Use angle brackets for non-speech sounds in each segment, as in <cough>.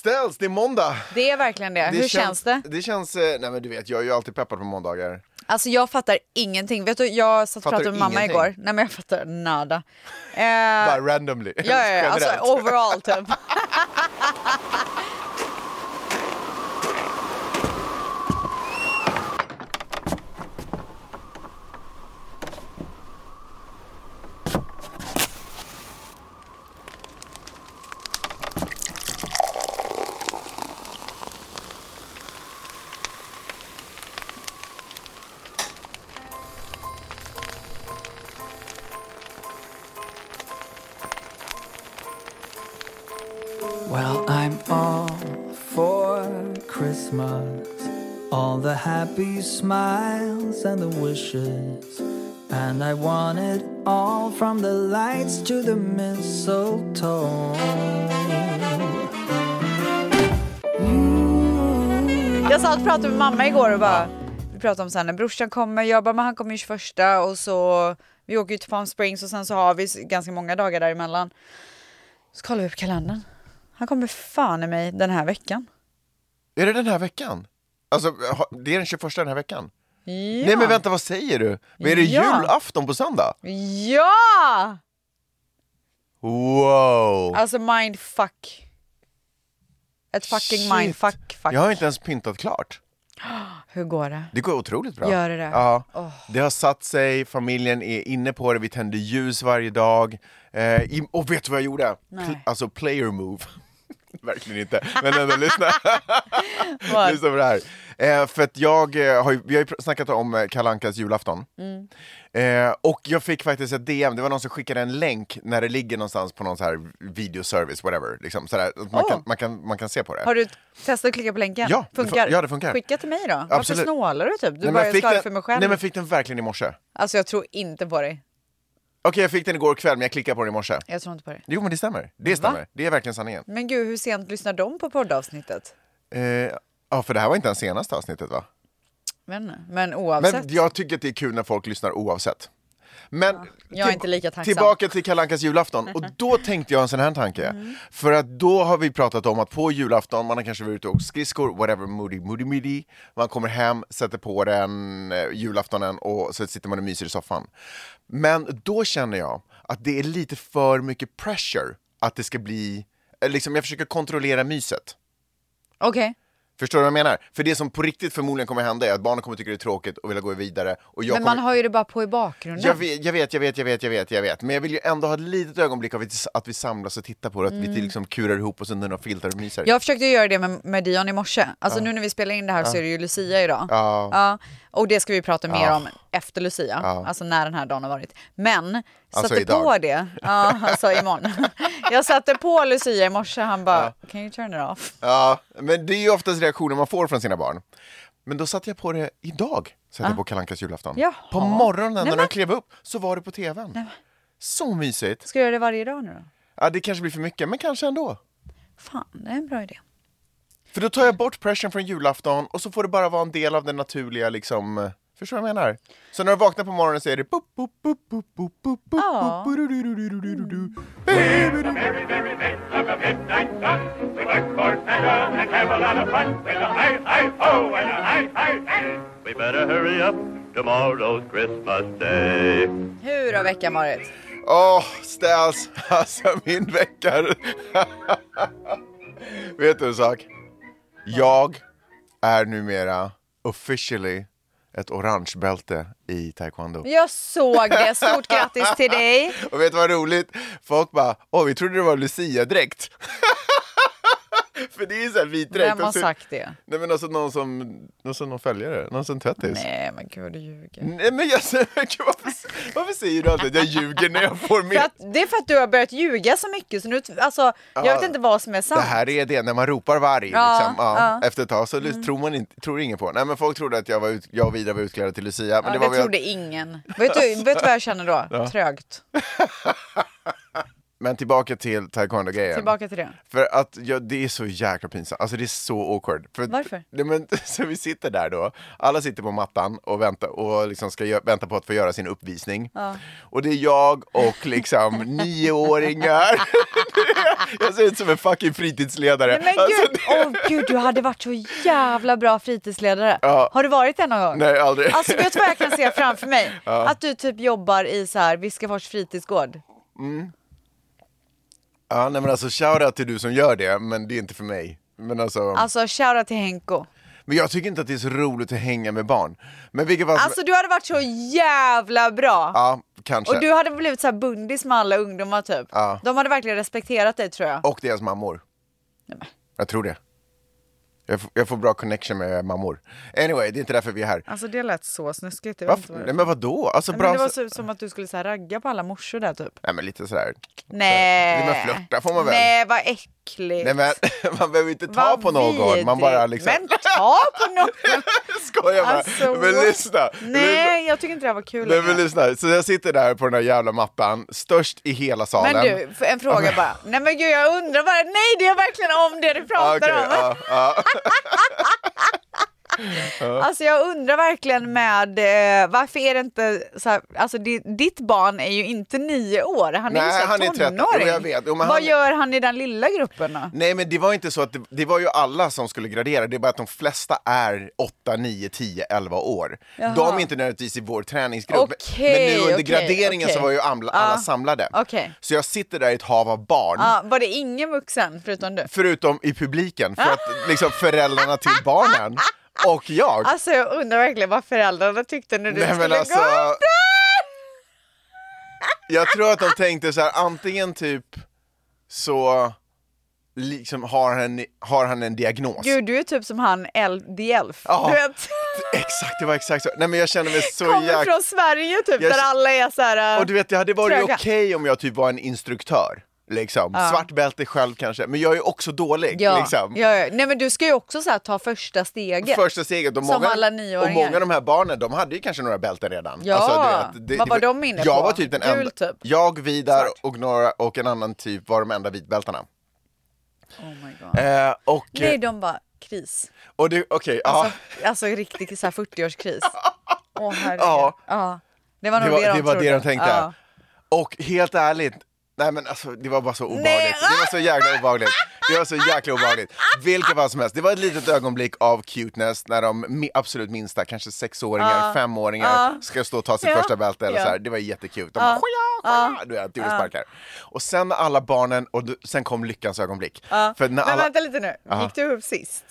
ställs, det är måndag! Det är verkligen det. Hur känns det? Det känns, eh, nej men du vet jag är ju alltid peppad på måndagar. Alltså jag fattar ingenting. Vet du, jag satt och Fattar pratade du med mamma ingenting? igår. Nej men jag fattar nada. Eh, Bara randomly. <laughs> Ja, ja, ja. alltså Generellt. overall typ. Well, I'm all for Christmas. All the happy smiles and the wishes. And I want it all from the lights to the mistletoe. Jag satt och pratade med mamma igår och bara, vi pratade om så här, när brorsan kommer, jag bara, men han kommer ju 21 och så, vi åker ju till Palm Springs och sen så har vi s- ganska många dagar däremellan. Så kollar vi på kalendern. Han kommer fan i mig den här veckan. Är det den här veckan? Alltså, ha- det är den 21 den här veckan? Ja! Nej men vänta, vad säger du? Men är det Ja. julafton på söndag? Ja! Wow! Alltså mindfuck. Ett fucking Shit. mindfuck fuck. Jag har inte ens pyntat klart. Hur går det? Det går otroligt bra. Gör det det? Ja. Det har satt sig, familjen är inne på det, vi tänder ljus varje dag. Eh, i- och vet du vad jag gjorde? Nej. Pl- alltså player move. <laughs> Verkligen inte, men ändå lyssna. Vad? lyssna på det här. Eh, för att jag eh, har ju, vi har ju pr- snackat om eh, Kalle Ankas julafton. Mm. Eh, och jag fick faktiskt ett DM, det var någon som skickade en länk när det ligger någonstans på någon så här videoservice, whatever. Liksom, sådär, att man, Oh. kan, man, kan, man kan se på det. Har du testat att klicka på länken? Ja, det funkar. fun- ja, det funkar. Skicka till mig då. Varför Absolut. snålar du typ? Du Nej, men bara, jag jag ska ha det den, för mig själv. Nej men fick den verkligen i morse. Alltså jag tror inte på dig. Okej, jag fick den igår kväll, men jag klickade på den i morse. Jag tror inte på dig. Jo, men det stämmer. Det stämmer. Det är verkligen sanningen. Men gud, hur sent lyssnar de på poddavsnittet? Eh, ja, för det här var inte ens senaste avsnittet, va? Men, men oavsett. Men jag tycker att det är kul när folk lyssnar oavsett. Men jag är till- inte lika tacksam. tillbaka till Kalle Ankas julafton. <laughs> Och då tänkte jag en sån här tanke. Mm. För att då har vi pratat om att på julafton, man har kanske varit ute och åkt skridskor, whatever, moody, moody, moody. Man kommer hem, sätter på den eh, julaftonen och så sitter man och myser i soffan. Men då känner jag att det är lite för mycket pressure att det ska bli, eh, liksom jag försöker kontrollera myset. Okej. Förstår du vad jag menar? För det som på riktigt förmodligen kommer hända är att barnen kommer tycka det är tråkigt och vilja gå vidare och jag Men man kommer... har ju det bara på i bakgrunden. Jag vet, jag vet, jag vet, jag vet, jag vet, jag vet. Men jag vill ju ändå ha ett litet ögonblick av att- att vi samlas och tittar på det, att Mm. vi liksom kurar ihop oss under några filtar och myser. Jag försökte ju göra det med, med Dion i morse. Alltså nu när vi spelar in det här så är det ju Lucia idag. Ja. Ja, och det ska vi prata mer Ja. om efter Lucia, Ja. alltså när den här dagen har varit. Men Alltså satte på idag. det, ja, alltså imorgon. <laughs> Jag satte på Lucia i morse, han bara “Can you turn it off?” Ja, men det är ju oftast reaktioner man får från sina barn. Men då satte jag på det idag, satte jag på Kalle Ankas julafton. Jaha. På morgonen när Nej, men- de klev upp så var det på tvn. Så mysigt! Ska jag göra det varje dag nu då? Ja, det kanske blir för mycket, men kanske ändå. Fan, det är en bra idé. För då tar jag bort pressen från julafton och så får det bara vara en del av den naturliga liksom eh, Förstår du vad jag menar? Så när du vaknar på morgonen så är det boop, boop, boop, boop, boop, boop, boop, Ja. boop, du-du-du-du-du-du-du. Merry, merry men of the midnight sun. We work for Santa and have a lot of fun with a hi, hi, ho and a hi, hi, hey. We better hurry up. Tomorrow's Christmas Day. Hur har veckan varit? Åh, Stas! <laughs> Alltså min vecka! <laughs> Vet du en sak? Jag är numera officially ett orange bälte i taekwondo. Jag såg det, stort grattis <laughs> till dig! Och vet du vad roligt? Folk bara, åh vi trodde det var Lucia-dräkt. <laughs> För det är så här vit dräkt. Vem har Och så- sagt det? Nej men alltså någon som, någon som någon följare, någon som tvättis. Nej. Nej men gud vad du ljuger. Nej men jag säger, <laughs> gud, varför, varför säger du alltid att jag ljuger när jag får För med? att, det är för att du har börjat ljuga så mycket så nu, alltså, jag Ja. vet inte vad som är Det sant. här är det, när man ropar varg Ja, liksom. ja, ja. Mm. efter ett tag så lys- tror man inte, tror ingen på. Nej men folk trodde att jag, var ut, jag och Vidar var utklädda till Lucia. Men Ja, det det, var väl- trodde ingen. Vet du, <laughs> vet du vad jag känner då? Trögt. Men tillbaka till taekwondo-grejen. Tillbaka till det. För att ja, det är så jäkla pinsamt, alltså det är så awkward. För att- Varför? Nej, men, <laughs> så vi sitter där då, alla sitter på mattan och väntar, och liksom ska gö- vänta på att få göra <laughs> sin uppvisning. Och det är jag och liksom nioåringar, <laughs> jag ser ut som en fucking fritidsledare. Nej, men gud, Alltså, åh gud, du hade varit så jävla bra fritidsledare. Ja. Har du varit det någon <laughs> gång? nej, aldrig. Alltså vet du vad jag kan se framför mig? Att du typ jobbar i så här Viskafors fritidsgård. <laughs> Ja, nej men alltså shoutout till du som gör det, men det är inte för mig. Men alltså, Alltså shoutout till Henko. men jag tycker inte att det är så roligt att hänga med barn. Men vilket fall som- Alltså du hade varit så jävla bra. ja, kanske. Och du hade blivit så här bundis med alla ungdomar typ. Ja. De hade verkligen respekterat dig tror jag. Och deras mammor. Jag tror det. Jag, f- jag får bra connection med mammor. Anyway, det är inte därför vi är här. Alltså det lät så snuskigt. Jag vet Varför? inte vad det- Nej men vadå? Alltså Men bra... det var så, som att du skulle så här, ragga på alla morsor där typ. Nej men lite sådär. Nej. men flörta får man väl? Nej vad äckligt. Nej men <laughs> man behöver inte ta Vad på någon. Man bara vidrigt. liksom... <laughs> Men ta på någon! Skojar bara. Alltså, men what? lyssna. lyssna. Nej, jag tycker inte det här var kul. Nej men ändå. lyssna. Så jag sitter där på den här jävla mattan, störst i hela salen. Men du, för en fråga <laughs> bara. Nej men gud jag undrar bara, nej det är verkligen om det du Ja, pratar okej, om. ja, ja. Alltså jag undrar verkligen med, eh, varför är det inte så här, alltså di- ditt barn är ju inte nio år, han är ju Nej, så här han är tonåring. 13. Jo, jag vet. Jo, men han- Vad Mm. gör han i den lilla gruppen då? Nej men det var inte så att det, det var ju alla som skulle gradera, det är bara att de flesta är 8, 9, 10, 11 år. Jaha. De är inte nödvändigtvis i vår träningsgrupp. men- Okej, men nu under okej, graderingen så okej. var ju amla, alla Ja. samlade. Okej. Så jag sitter där i ett hav av barn. Ja, var det ingen vuxen förutom du? Förutom i publiken, för att liksom föräldrarna till <laughs> barnen och jag. Alltså jag undrar verkligen vad föräldrarna tyckte när du Nej, men skulle alltså- gå upp Jag tror att de tänkte så här, antingen typ så liksom har han, har han en diagnos. Gud, du är typ som han El The Elf. Ja. Du vet, Exakt, det var exakt så. Nej men jag känner mig så <laughs> kommer jäkla... från Sverige typ, Jag- där alla är så här... äh, Och du vet, det hade varit okej Tröga. om jag typ var en instruktör. Liksom. Svart bälte själv kanske, men jag är ju också dålig. ja, Liksom. ja, ja. Nej, men du ska ju också så här, ta första steget. Första steget. De Som många, alla och nioåringar. många av de här barnen, de hade ju kanske några bälten redan. Alltså, Ja, du vet, vad var var- de inne jag på? Var typ den Gul enda, typ? Jag, Vidar Svart. och, några, och en annan typ var de enda vitbältarna. Oh my God. Eh, och, Nej, de bara kris. och det, okej, ja. Alltså, alltså riktig så <laughs> här 40-årskris. Åh herregud. Ja. Ja. Det var nog Det det, var, de det, var trodde. det de tänkte. Ja. Och helt ärligt, nej men alltså det var bara så obehagligt. Nej. Det var så jäkla obehagligt. Det var så <laughs> jäkla obehagligt. Vilket var som helst. Det var ett litet ögonblick av cuteness när de mi- absolut minsta, kanske sexåringar, femåringar, ska stå och ta sitt Ja. första bälte eller Ja. så här. Det var jättekul. De bara skoja, skoja, du vet, gjorde sparkar. Och sen när alla barnen, och du- sen kom lyckans ögonblick. För när Men alla, vänta lite nu, gick du upp sist?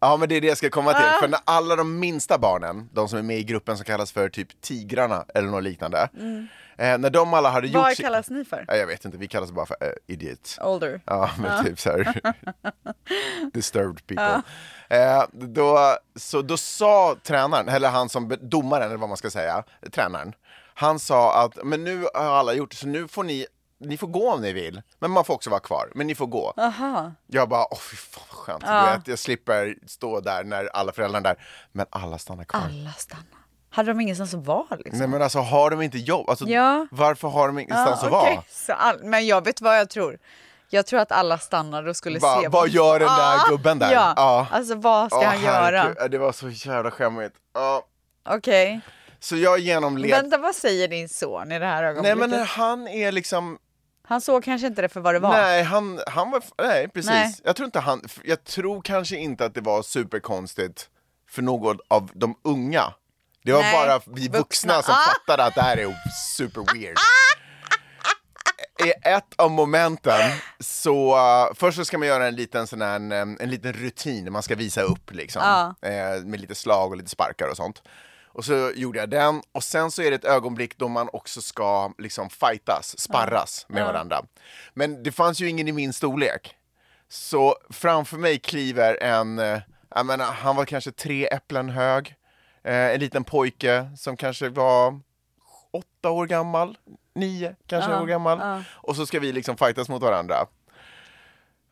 Ja men det är det jag ska komma till, Ah. för när alla de minsta barnen, de som är med i gruppen som kallas för typ tigrarna eller något liknande, eh, när de alla hade gjort Mm. Vad si- kallas ni för? Ja, jag vet inte, vi kallas bara för eh, idiot. Older. Ja, men typ så <laughs> här. disturbed people. Eh, då, så då sa tränaren, eller han som be- domaren eller vad man ska säga, tränaren. Han sa att men nu har alla gjort det, så nu får ni, ni får gå om ni vill. Men man får också vara kvar, men ni får gå. Aha. Jag bara, åh fy fan vad skönt. Du vet, jag slipper stå där när alla föräldrar är där. Men alla stannar kvar. Alla stannar. Hade de ingenstans att vara liksom? Nej men alltså har de inte jobb? Alltså, Ja. Varför har de ingenstans Ja, att vara? okej. Så all, men jag vet vad jag tror. Jag tror att alla stannade och skulle Va- se. vad gör den där Ja, gubben där? Ja. Ja. Alltså vad ska Åh, han göra? herregud. Ja, Det var så jävla skämmigt. Ja. Okej. Så jag genomled... Vänta, vad säger din son i det här Nej ögonblicket? men han är liksom, Han såg kanske inte det för vad det var. nej han, han var, nej precis. Nej. Jag tror inte han, jag tror kanske inte att det var superkonstigt för någon av de unga. Det var Nej, bara vi vuxna, vuxna. som Ah. fattade att det här är super weird. <laughs> I ett av momenten så, eh, först så ska man göra en liten sån här, en, eh, en liten rutin, man ska visa upp liksom. Ja. Eh, med lite slag och lite sparkar och sånt. Och så gjorde jag den, och sen så är det ett ögonblick då man också ska liksom fightas, sparras med varandra. Men det fanns ju ingen i min storlek. Så framför mig kliver en, eh, jag menar, han var kanske tre äpplen hög, eh, en liten pojke som kanske var åtta år gammal, nio kanske år gammal. Och så ska vi liksom fightas mot varandra.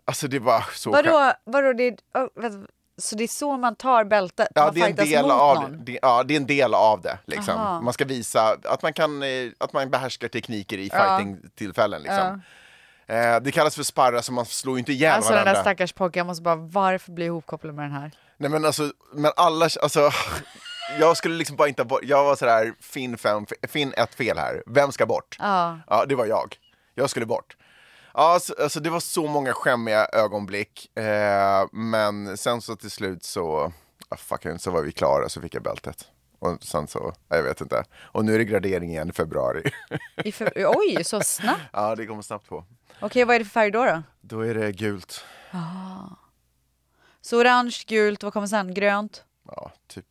Alltså det var så skönt. Vadå, vadå det, oh, vänta, så det är så man tar bältet? Ja man det, är en fightas del mot av, någon? det, ja, det är en del av det. Liksom. Aha. Man ska visa att man, kan, eh, att man behärskar tekniker i fighting-tillfällen. Liksom. Eh, det kallas för sparra, så man slår ju inte ihjäl Alltså den varandra. där stackars pojken, jag måste bara, varför blir jag ihopkopplad med den här? Nej men alltså, men alla, alltså, <laughs> jag skulle liksom bara inte ha bort, jag var sådär, finn fem, finn ett fel här, vem ska bort? Ja. Ja, det var jag. Jag skulle bort. Ja, så, alltså det var så många skämmiga ögonblick. Eh, men sen så till slut så, ah, fuck, it, så var vi klara så fick jag bältet. Och sen så, jag vet inte. Och nu är det gradering igen i februari. <laughs> I för... Oj, så snabbt. ja, det kommer snabbt på. Okej, vad är det för färg då? då? Då är det gult. Så orange, gult, vad kommer sen? Grönt? Ja, typ.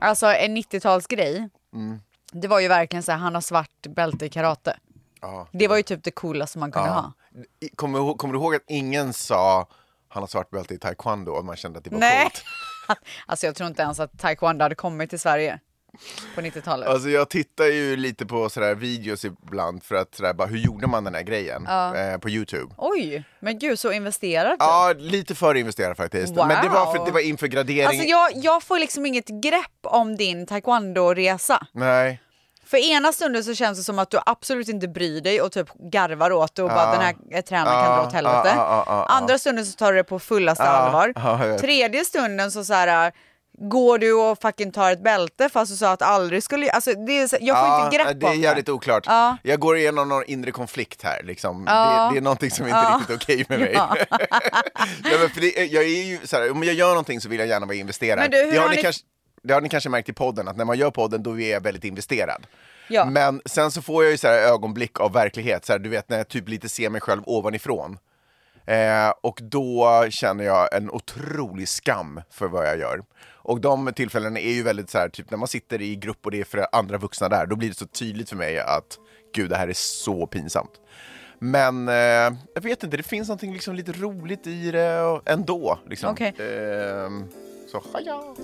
Alltså en 90-talsgrej. Mm. Det var ju verkligen så här, han har svart bälte i karate. Ja. Det var ju typ det coolaste man kunde ha. I- Kommer, ihå- kommer du ihåg att ingen sa han har svart bälte i taekwondo och man kände att det var Nej. coolt? <laughs> Alltså jag tror inte ens att taekwondo hade kommit till Sverige på 90-talet. Alltså jag tittar ju lite på sådär videos ibland för att sådär, bara, hur gjorde man den här grejen eh, på Youtube? Oj, men gud så investerad du. Ja, lite för investerad faktiskt. Men det var, för, Wow. det var inför gradering. Alltså jag, jag får liksom inget grepp om din taekwondo-resa. Nej. För ena stunden så känns det som att du absolut inte bryr dig och typ garvar åt det och bara den här eh, tränaren kan Ja, dra åt helvete. ja, ja, ja, ja. Andra stunden så tar du det på fullaste allvar. ja, jag vet. Tredje stunden så, så här eh, går du och fucking tar ett bälte fast du sa att aldrig skulle... Alltså det är, så- jag får inte grepp det är om jävligt oklart. Ja. Jag går igenom någon inre konflikt här. Liksom. Ja. Det, det är någonting som inte är Ja. riktigt okej med mig. <laughs> Ja. men för det, jag är ju såhär, om jag gör någonting så vill jag gärna vara investerad. Men du, hur det, har ni ni- kanske, det har ni kanske märkt i podden, att när man gör podden då är jag väldigt investerad. Ja. Men sen så får jag ju så här ögonblick av verklighet, så här, du vet när jag typ lite ser mig själv ovanifrån. Eh, och då känner jag en otrolig skam för vad jag gör. Och de tillfällena är ju väldigt så här, typ när man sitter i grupp och det är för andra vuxna där, då blir det så tydligt för mig att gud, det här är så pinsamt. Men eh, jag vet inte, det finns någonting liksom lite roligt i det och- ändå. Liksom. Okej. Ehm, så, ja.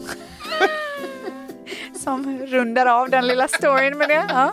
Som rundar av den lilla storyn med det. Ja.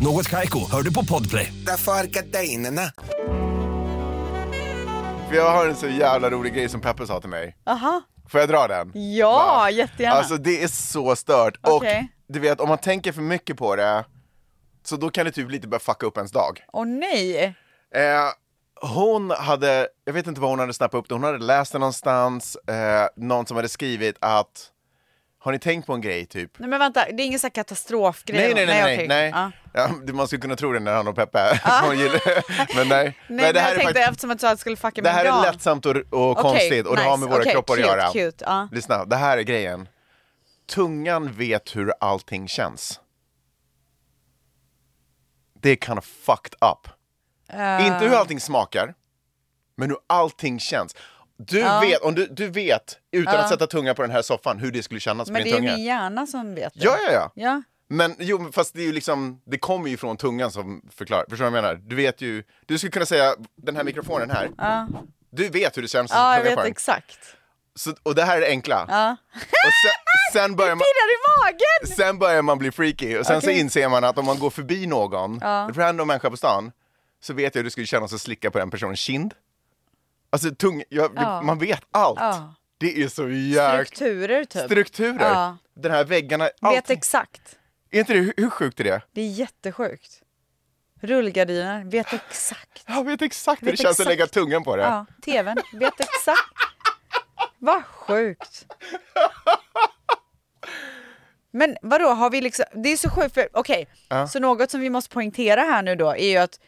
Något Kaiko, hör du på Podplay. Därför arkadeinerna. För jag har en så jävla rolig grej som Peppe sa till mig. Aha. Får jag dra den? Ja, jättegärna. Alltså det är så stört. Okej. Och du vet, om man tänker för mycket på det, så då kan det typ lite börja fucka upp ens dag. Åh nej. Eh, hon hade, jag vet inte vad hon hade snappat upp det, hon hade läst det någonstans, eh, någon som hade skrivit att, har ni tänkt på en grej typ? Nej men vänta, det är ingen sån här katastrofgrej? Nej, nej, nej, nej, okej. nej. nej. Ja. Ja, det- man skulle kunna tro det när han och Peppe, <laughs> hon gillar- men nej. nej, <laughs> det Nej, men här jag är tänkte faktiskt- eftersom att du sa att det skulle fucka det med här dagen. är lättsamt och, och Okej, konstigt och det har nice. med våra Okej, kroppar cute, att göra. cute, ja. Lyssna, det här är grejen. Tungan vet hur allting känns. Det är kind of fucked up. Eh. Inte hur allting smakar, men hur allting känns. Du vet, om du, du vet utan att sätta tungan på den här soffan hur det skulle kännas Men på din det är ju tunga. min hjärna som vet det. Ja, ja, ja. Ja. Men jo, men fast det är ju liksom, det kommer ju från tungan som förklarar. Förstår du vad jag menar? Du vet ju, du skulle kunna säga den här mikrofonen här. Du vet hur det känns att Ja, jag sätta tungan på vet den. exakt. Så, och det här är det enkla. Ja. Och sen, <laughs> sen, börjar man, Pirrar i magen! sen börjar man bli freaky och sen så Okej. inser man att om man går förbi någon, en random människa på stan, så vet jag hur det skulle kännas att slicka på den personens kind. Alltså tung, jag, Ja. man vet allt. Ja. Det är så jäkla... Strukturer typ. Strukturer. Ja. Den här väggarna, Vet allt. exakt. Är inte det, hur- hur sjukt är det? Det är jättesjukt. Rullgardiner, vet exakt. Jag vet exakt hur Vet det känns exakt. att lägga tungan på det. Ja, tvn, vet exakt. Vad sjukt. Men vadå, har vi liksom, det är så sjukt för, okej, så något som vi måste poängtera här nu då är ju att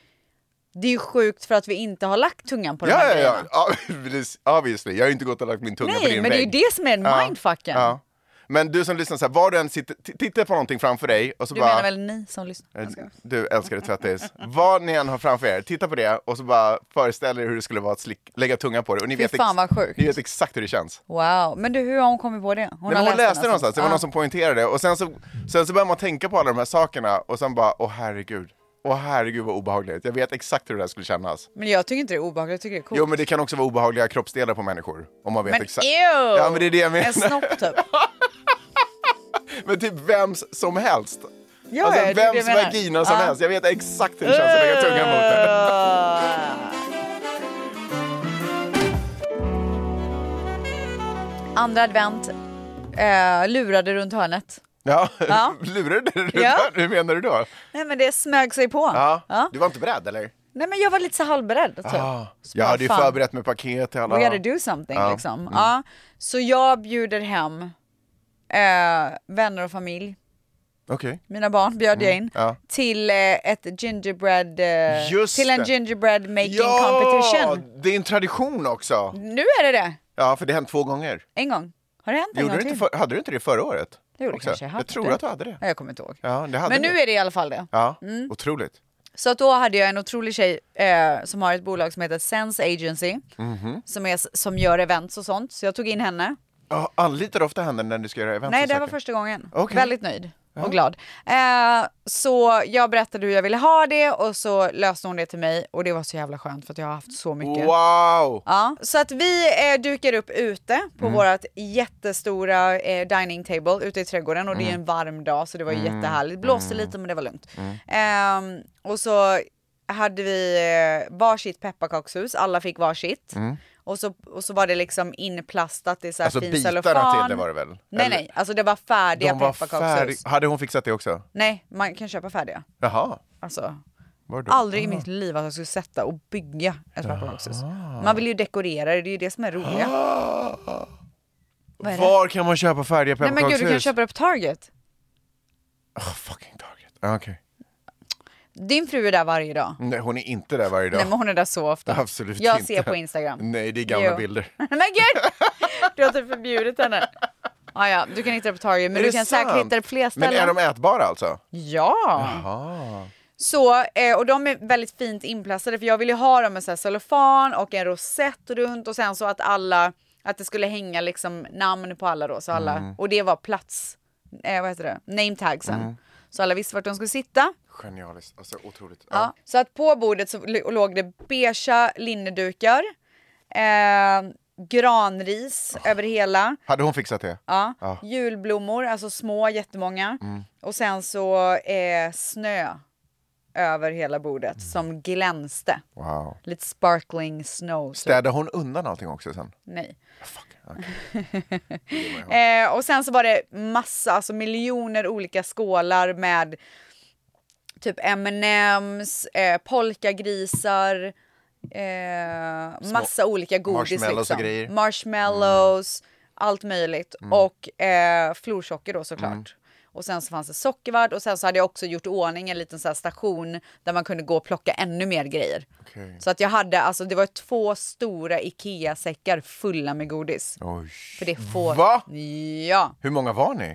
det är ju sjukt för att vi inte har lagt tungan på de Ja, här ja, grejerna. ja. ja. precis. Obviously. Jag har ju inte gått och lagt min tunga på Nej, din men det är ju vägg. det som är mindfucken. Ja. Men du som lyssnar, så här, var du än sitter, t- titta på någonting framför dig och så Du bara... menar väl ni som lyssnar? Eh, Du älskade tvättis. Vad ni än har framför er, titta på det och så bara föreställ er hur det skulle vara att slick, lägga tunga på det. Och ni Fy vet, fan, vad sjukt. ni vet exakt hur det känns. Wow, men du hur har hon kommit på det? Hon, Nej, men hon läste det någonstans, det var Ja. någon som poängterade det. Och sen så, sen så börjar man tänka på alla de här sakerna och sen bara, åh herregud. Åh herregud vad obehagligt. Jag vet exakt hur det där skulle kännas. Men jag tycker inte det är obehagligt, jag tycker det är coolt. Jo men det kan också vara obehagliga kroppsdelar på människor. Om man vet men exakt. ew! Alltså- Ja men <laughs> det är det jag En menar. snopp typ. Men typ vems som helst. Ja, alltså det är det vems jag menar. vagina som Ja. Uh. helst. Jag vet exakt hur det känns att lägga tungan mot den. <laughs> Andra advent, eh, lurade runt hörnet. Ja, Ja. <laughs> lurar du dig? Ja. Hur menar du då? Nej men det smög sig på. Ja. Du var inte beredd eller? Nej men jag var lite så halvberedd. Typ. Ah, Så jag bara, hade ju fan, förberett med paket till alla. We gotta do something Ja. Mm. liksom. Ja. Så jag bjuder hem eh, vänner och familj, Okej. mina barn bjöd jag in, Mm, ja. till eh, ett gingerbread, eh, Just till en det. gingerbread making Ja, competition. det är en tradition också. Nu är det det, Ja, för det har hänt två gånger. en gång. Har det hänt en Gjorde gång du inte till? för, hade du inte det förra året? Det gjorde också? kanske jag hade jag tror det. att du hade det. Ja, Jag kommer inte ihåg. Ja, det hade Men nu du. är Mm. det i alla fall det. Ja, otroligt. Så att då hade jag en otrolig tjej eh, som har ett bolag som heter Sense Agency. Mhm. Som, är, som gör events och sånt. Så jag tog in henne. Ja, anlitar du ofta henne när du ska göra event? Nej, och det här var saker? första gången. Okej. Väldigt nöjd och glad. Eh, så jag berättade hur jag ville ha det och så löste hon det till mig. Och det var så jävla skönt för att jag har haft så mycket. Wow! Ja, så att vi eh, dukar upp ute på Mm. vårat jättestora eh, dining table ute i trädgården och det Mm. är en varm dag så det var ju jättehärligt. Blåste lite men det var lugnt. Ehm, och så hade vi eh, varsitt pepparkakshus, alla fick varsitt. Och, så, och så var det liksom inplastat i så här Mm. Alltså fin bitarna cellofan. till det var det väl? Nej Eller- nej, alltså det var färdiga De var pepparkakshus. färdig- Hade hon fixat det också? Nej, man kan köpa färdiga. Jaha. Alltså, Var då? aldrig i mitt liv att jag skulle sätta och bygga ett pepparkakshus. Man vill ju dekorera det, det är ju det som är roligt. Vad är det? Var kan man köpa färdiga Nej men gud, du kan pepparkakshus? köpa det på Target. Ah, fucking Target. Ah, Okej. Din fru är där varje dag. Nej, hon är inte där varje dag. Nej men hon är där så ofta. <laughs> Absolut Jag inte. ser på Instagram. Nej, det är gamla Jo. bilder. <laughs> men <laughs> gud! Du har typ förbjudit henne. Ah, ja, du kan hitta det på Target men Är du det kan säkert sant? hitta det på fler Men är ställen. de ätbara alltså? Ah, Ja! Så, eh, och de är väldigt fint inplastade för jag ville ju ha dem med så här cellofan och en rosett runt och sen så att alla, att det skulle hänga liksom namn på alla då så alla, Mm. och det var plats, eh, vad heter det, name tagsen. Mm. Så alla visste vart de skulle sitta. Genialiskt. Alltså otroligt. Ja. Så att på bordet så l- låg det beiga linnedukar, eh, granris över hela, Hade hon fixat det? ja. Ja. julblommor, alltså små, jättemånga. Och sen så eh, snö över hela bordet som glänste. Wow. Lite sparkling snow. typ. Städade hon undan allting också sen? Nej. Ah, Fuck. okej. <laughs> Eh, och sen så var det massa, alltså miljoner olika skålar med typ M&M's, eh, polkagrisar, eh, massa olika godis marshmallows och liksom. grejer. Marshmallows, allt möjligt. Mm. Och eh, florsocker då såklart. Och sen så fanns det sockervadd och sen så hade jag också gjort i ordning en liten så här station där man kunde gå och plocka ännu mer grejer. Okej. Så att jag hade, alltså det var två stora Ikea-säckar fulla med godis. Oj. För det får... Va? Ja. Hur många var ni?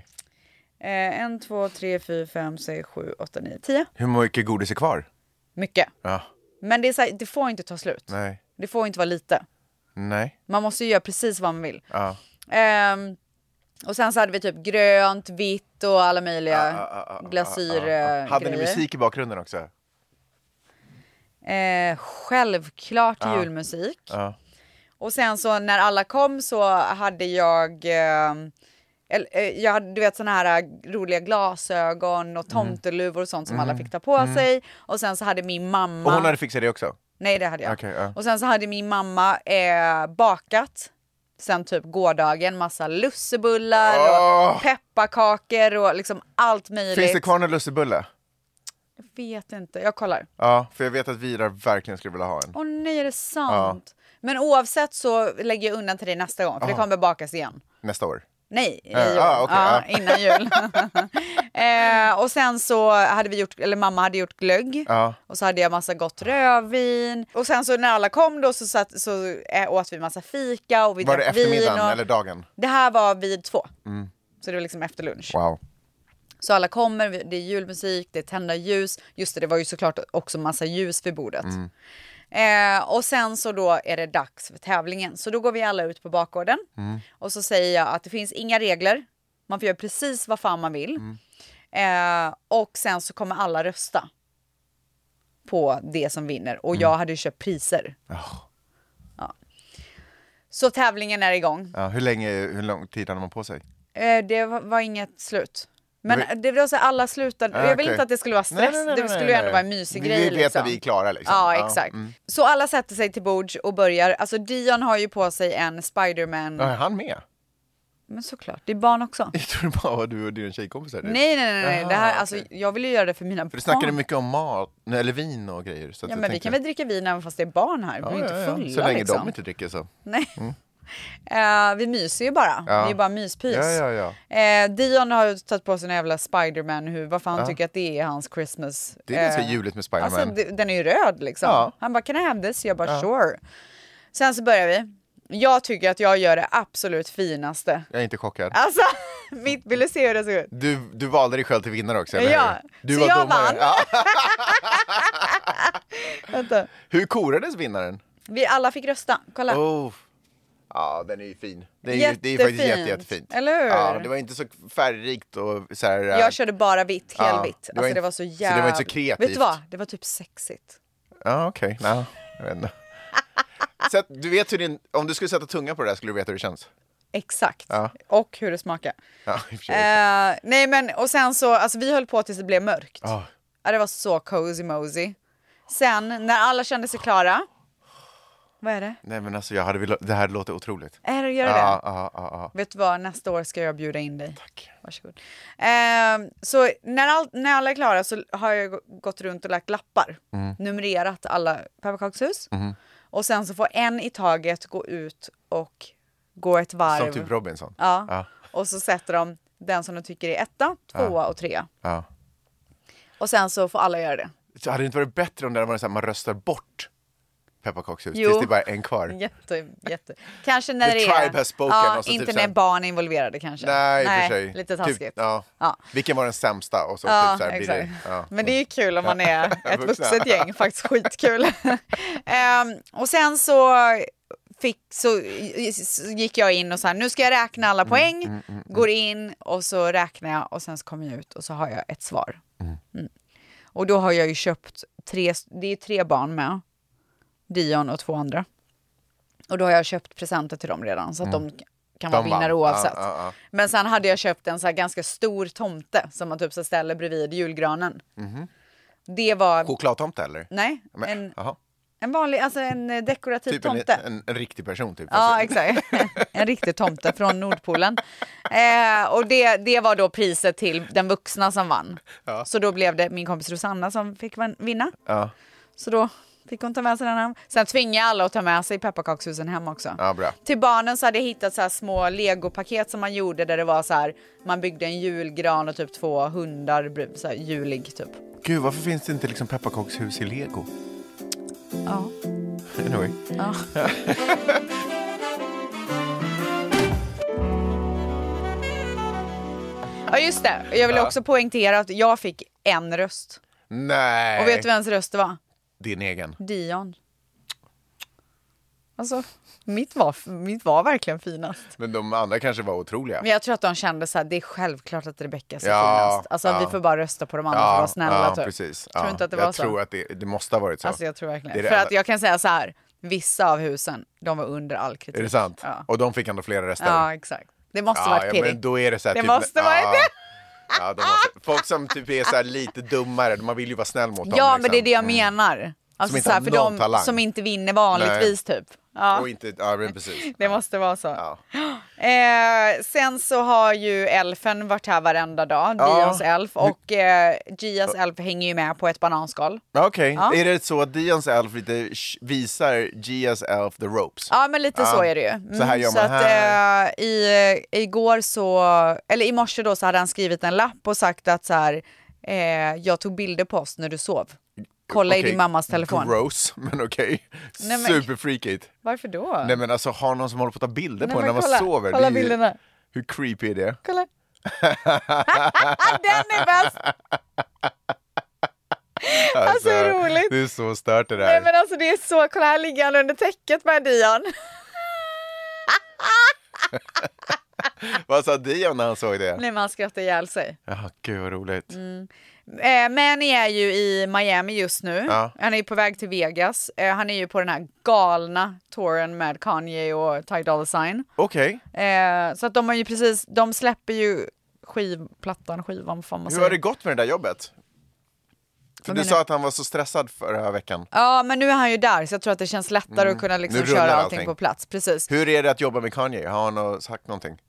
Eh, en, två, tre, fyra, fem, sex, sju, åtta, nio, tio. Hur mycket godis är kvar? Mycket. Ja. Men det, är så här, det får inte ta slut. Nej. Det får inte vara lite. Nej. Man måste ju göra precis vad man vill. Ja. Ehm, och sen så hade vi typ grönt, vitt och alla möjliga Ah, eh, glasyrgrejer. Hade ni musik i bakgrunden också? Eh, självklart Ah. julmusik. Ja. Och sen så när alla kom så hade jag, eh, eller, eh, jag hade, du vet såna här eh, roliga glasögon Mm. och tomteluvor och sånt som alla fick ta på sig. Och sen så hade min mamma, Och hon hade fixat det också? nej det hade jag. Okej, ja. Och sen så hade min mamma eh, bakat sen typ gårdagen massa lussebullar Åh! och pepparkakor och liksom allt möjligt. Finns det kvar någon lussebulle? Jag vet inte, jag kollar. Ja, för jag vet att Vidar verkligen skulle vilja ha en. Åh nej, är det sant? Men oavsett så lägger jag undan till dig nästa gång, för det kommer bakas igen. Nästa år. Nej, i Eh, jul. ah, okej, ja, ah. innan jul. <laughs> eh, och sen så hade vi gjort, eller mamma hade gjort glögg. Ja. Och så hade jag massa gott rödvin. Och sen så när alla kom då så, satt, så eh, åt vi massa fika och vi Var det drack vin. eftermiddagen Och... eller dagen? Det här var vid två. Så det var liksom efter lunch. Wow. Så alla kommer, det är julmusik, det är tända ljus. Just det, det var ju såklart också massa ljus vid bordet. Eh, och sen så då är det dags för tävlingen. Så då går vi alla ut på bakgården. Och så säger jag att det finns inga regler. Man får göra precis vad fan man vill. Eh, och sen så kommer alla rösta på det som vinner. Och jag hade ju köpt priser. Ja. Så tävlingen är igång. Mm. Ja, hur, länge, hur lång tid hade man på sig? Eh, det var var inget slut. Men det var så här, alla slutade. Ah, jag vill okej. inte att det skulle vara Nej, stress. nej, nej, det nej, skulle ju nej, ändå nej. vara en mysig Vi grej. vet att vi är klara, liksom. Ja, Ja, exakt. mm. Så alla sätter sig till bords och börjar. Alltså Dion har ju på sig en Spiderman. Ja, är han med? <laughs> Men såklart, det är barn också. Jag tror det bara var du och dina tjejkompisar. typ. Nej, nej, nej. nej. det här, Jaha, alltså, okej. jag vill ju göra det för mina barn. För du snackade mycket om mat, nej, eller vin och grejer. Så att Ja, jag men vi tänkte- kan väl dricka vin även fast det är barn här. De är ju inte fulla Så länge liksom. de inte dricker så. Nej. <laughs> Eh, vi myser ju bara. Mm. Ja. Det är bara myspys. Ja, ja, ja. Eh, Dion har ju tagit på sig en jävla Spiderman-huvud. Vad fan tycker att det är hans Christmas? Det är ganska juligt med Spiderman. Eh, Alltså, det- den är ju röd liksom. Ja. Han bara, can I have this? Jag bara, sure. Sen så börjar vi. Jag tycker att jag gör det absolut finaste. Jag är inte chockad. Alltså, <laughs> mitt, vill du se hur det ser ut? Du, du valde dig själv till vinnare också, eller Ja, hur? Du så var jag domare. vann. Ja. <laughs> Vänta. Hur korades vinnaren? Vi alla fick rösta. Kolla. Oh. Ja, den är ju fin. Den är, ju- det är ju faktiskt jätte, Jättefint. jättefint. Eller hur? Ja, det var inte så färgrikt och så här... eh, Jag körde bara vitt, Ja, helvitt. det var Alltså inte- det var så så det jävla... var inte så kreativt. Vet du vad? Det var typ sexigt. äh, Ja, okej. Nja, jag vet <laughs> inte. Så att du vet hur din, om du skulle sätta tunga på det där skulle du veta hur det känns. Exakt. Ja. Och hur det smakar. Ja, i och för sig. Eh, nej men och sen så, alltså vi höll på tills det blev mörkt. Ja. Ja, det var så cozy mosey. Sen när alla kände sig klara. Vad är det? Nej men alltså jag hade velat, det här låter otroligt. Är det, gör det Ja, det? ja, ja, ja. Vet du vad, nästa år ska jag bjuda in dig. Tack. Varsågod. Eh, så när, all, när alla är klara så har jag gå- gått runt och lagt lappar. Mm. Numrerat alla pepparkakshus. Mm-hmm. Och sen så får en i taget gå ut och gå ett varv. Som typ Robinson. ja. Ja. Och så sätter de den som de tycker är etta, tvåa och trea. Ja. Och sen så får alla göra det. Så hade det inte varit bättre om det hade varit så här, man röstar bort pepparkakshus Jo. tills det bara är en kvar? Jätte, jätte. Kanske när The det är... tribe has spoken, ja, alltså typ inte så här- när barn är involverade kanske. Nej, i och för sig. Lite taskigt. Typ, ja. Ja. Vilken var den sämsta? Och så, Ja, typ så här, blir exakt. det, ja. Men det är ju kul om <laughs> man är ett Vuxna. vuxet gäng, faktiskt skitkul. <laughs> Ehm, och sen så, fick, så gick jag in och så här, nu ska jag räkna Mm, alla poäng, går in och så räknar jag och sen så kommer jag ut och så har jag ett svar. Mm. Och då har jag ju köpt tre, det är tre barn med, Dion och två andra. Och då har jag köpt presenter till dem redan så att de kan vara Mm. De vann. vinnare oavsett. Ja, ja, ja. Men sen hade jag köpt en så här ganska stor tomte som man typ så ställer bredvid julgranen. Det var... Chokladtomte eller? Nej, Mhm. Men, en, jaha. en vanlig, alltså en eh, dekorativ Typ en, tomte. en, en riktig person typ. Ja, exakt. <laughs> En riktig tomte från Nordpolen. Eh, och det, det var då priset till den vuxna som vann. Så då blev det min kompis Rosanna som fick van- vinna. Ja. Så då fick hon ta med sig den hem. Sen tvingade jag alla att ta med sig pepparkakshusen hem också. Ja, bra. Till barnen så hade jag hittat så här små legopaket som man gjorde där det var så här, man byggde en julgran och typ två hundar, så här julig typ. Gud, varför finns det inte liksom pepparkakshus i lego? <laughs> Ja. Anyway. ja, just det. Jag vill också poängtera att jag fick en röst. Nej! Och vet du vems röst det var? Din egen. Dion. Alltså, mitt var, mitt var verkligen finast. Men de andra kanske var otroliga. Men jag tror att de kände så här, det är självklart att Rebecca är Ja, finast. Alltså ja. vi får bara rösta på de andra för att vara snälla ja, typ. precis. Tror ja. du inte att det jag var så? tror att det, det måste ha varit så. Alltså jag tror verkligen. Det är det För enda- att jag kan säga så här, vissa av husen, de var under all kritik. Är det sant? Ja, Och de fick ändå flera röster? ja exakt. Det måste ha varit ja, pirrigt. men då är det så här, typ- Det måste vara ja. <laughs> det. Ja, de måste, folk som typ är så här lite dummare, man vill ju vara snäll mot dem. Ja, liksom. men det är det jag menar. Alltså, Som inte så här, har för någon de talang. som inte vinner vanligtvis typ. Ja, Och inte, ja men precis. det måste vara så. Ja. <gasps> Eh, sen så har ju elfen varit här varenda dag, Ja. Dions elf. Och eh, Gias elf hänger ju med på ett bananskal. Okej, Ja. är det så att Dions elf lite sh- visar Gias elf the ropes? Ja men lite Ja. så är det ju. Mm, Så här gör så man att, här. eh, i, igår så, eller i morse då så hade han skrivit en lapp och sagt att så här, eh, jag tog bilder på oss när du sov. Kolla i Okej, din mammas telefon. Gross, <laughs> men okej. Nej, men- Superfreakigt. Varför då? Nej men alltså, har någon som håller på att ta bilder Nej, på en men när man kolla, sover? kolla Det är ju- bilderna. Hur creepy är det? Kolla. <laughs> Den är bäst! <laughs> Alltså, hur roligt. Det är så stört det där. Nej men alltså det är så, kolla här ligger han under täcket med Dion. Vad sa Dion när han såg det? Nej Mm. men han skrattar ihjäl sig. Ja, gud vad roligt. Eh, Manny är ju i Miami just nu. Ja. Han är ju på väg till Vegas. Eh, han är ju på den här galna touren med Kanye och Ty Dolla Sign. Okej. Eh, så att de har ju precis, de släpper ju skiv, plattan, skivan, fan man Hur har säger. det gått med det där jobbet? För Vad du menar sa du? att han var så stressad förra veckan. Ja, men nu är han ju där så jag tror att det känns lättare att kunna Mm. Nu liksom rullar köra allting, allting. på plats. Precis. Hur är det att jobba med Kanye? Har han nå- sagt någonting?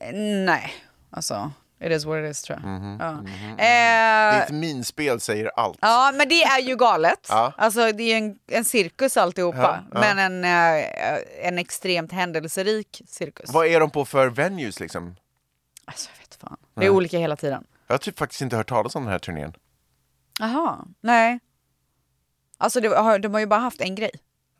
Eh, Nej, alltså it is what it is tror jag. Mm-hmm. Ja. Eh, Ditt minspel säger allt. Ja, men det är ju galet. <laughs> Ja. Alltså, det är ju en, en cirkus alltihopa, Ja, ja. men en, eh, en extremt händelserik cirkus. Vad är de på för venues liksom? Alltså, jag vet fan. Det är olika hela tiden. Jag har typ faktiskt inte hört talas om den här turnén. Jaha, nej. Alltså, det, har- de har ju bara haft en grej.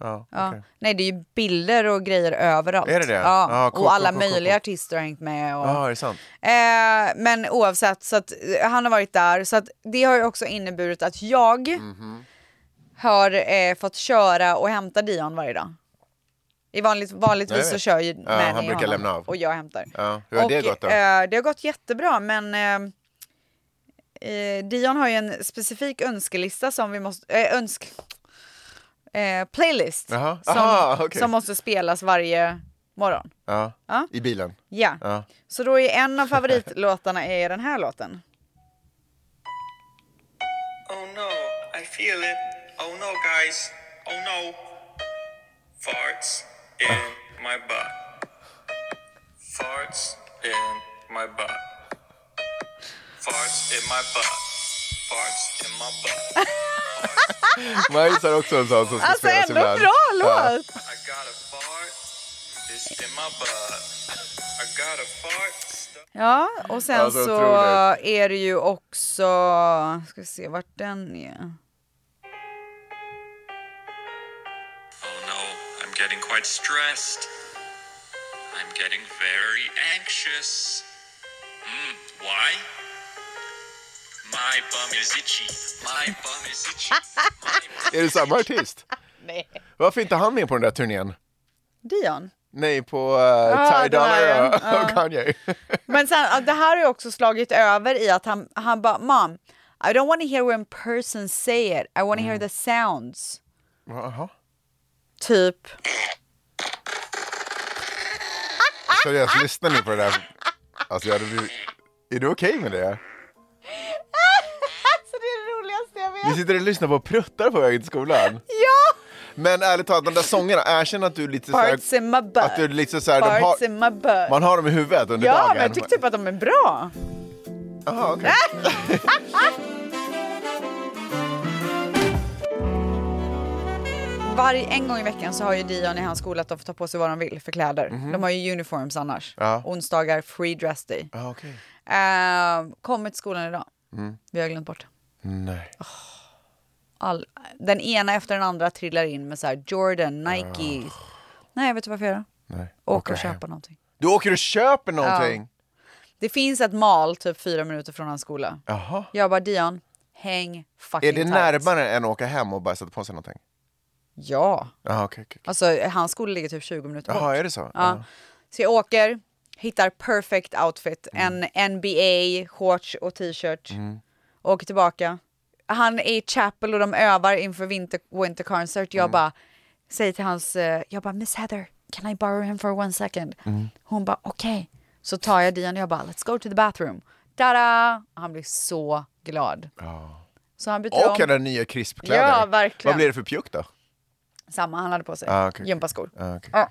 Ja, Ja. okej. Nej, det är ju bilder och grejer överallt. Är det det? Ja, Ja, cool, och alla cool, cool, cool, möjliga cool. artister har hängt med. Och... Ja, är det sant? Eh, men oavsett, så att eh, han har varit där. Så att det har ju också inneburit att jag Mhm. har eh, fått köra och hämta Dion varje dag. I vanligt, Ja, jag vanligtvis så vet. kör ju Manny han brukar honom lämna av. och jag hämtar. Ja, hur har och, det gått då? Eh, det har gått jättebra men eh, eh, Dion har ju en specifik önskelista som vi måste, eh, önsk, eh, playlist Jaha, som, aha, okej. som måste spelas varje morgon. Ja. Ja. I bilen? Ja. Ja. Så då är en av favoritlåtarna är den här låten. Oh no, I feel it. Oh no, guys. Oh no. Farts in my butt. Farts in my butt. Farts in my butt. Farts in my butt. Majs har också en sån som ska Ah! Alltså spelas ändå ibland. bra låt! I got a fart. It's in my butt. I got a fart. stuck Ja, och sen Alltså, så otroligt. är det ju också... Ska vi se vart den är. Oh no, I'm getting quite stressed. I'm getting very anxious. Mm, why? My bum is itchy. My bum is itchy. My bum Är det samma artist? <laughs> Nej. Varför är inte han med på den där turnén? Dion. Nej, på uh, Ah, Ty den här, Dolla <laughs> och, ja. och Kanye. Men sen, ja, det här har ju också slagit över i att han, han bara Mom, I don't want to hear one person say it. I want to hear the sounds. Mm. Jaha. Typ. Seriöst, lyssna nu på det där. Alltså, jag hade blivit... Är du okej med det? Så det är det roligaste jag Vi vet. sitter och lyssnar på pruttar på vägen till skolan. Ja! Men ärligt talat, de där sångerna, erkänn att du är lite såhär... Parts in my butt. Att du är lite såhär... De Parts har, in my butt. man har dem i huvudet under Ja, dagen. men jag Äh! tycker typ att de är bra. Jaha, okej. Varje, en gång i veckan så har ju Dion i hans skola att de får ta på sig vad de vill för kläder. De har ju uniforms annars. Mhm. Ja. Onsdagar, free dress day. Ja, okej. Uh, kommer till skolan idag. Mm. Vi har glömt bort det. Nej. all, Den ena efter den andra trillar in med så här Jordan, Nike. Nej, vet du varför jag gör? Nej. Åker och hem. köpa någonting. Du åker och köper någonting? Det finns ett mal typ fyra minuter från hans skola. Jaha. Jag bara Dion, häng fucking Är det tight. närmare än att åka hem och bara sätta på sig någonting? Ja. Jaha, okej. okej. Alltså hans skola ligger typ 20 minuter bort. Jaha, är det så? Ja. Så jag åker, hittar perfect outfit, Mm. en NBA, shorts och t-shirt. Åker tillbaka. Han är i Chapel och de övar inför Winter, winter Concert. Mm. Jag bara säger till hans, eh, jag bara Miss Heather, can I borrow him for one second? Mm. Hon bara okej. Så tar jag Dion och jag bara let's go to the bathroom. Tada! Han blir så glad. Så han byter om. Och den nya krispkläder. Ja, verkligen. Vad blir det för pjuck då? Samma han hade på sig. Ah, okej, okej. Gympaskor. Ah, okej. Ja.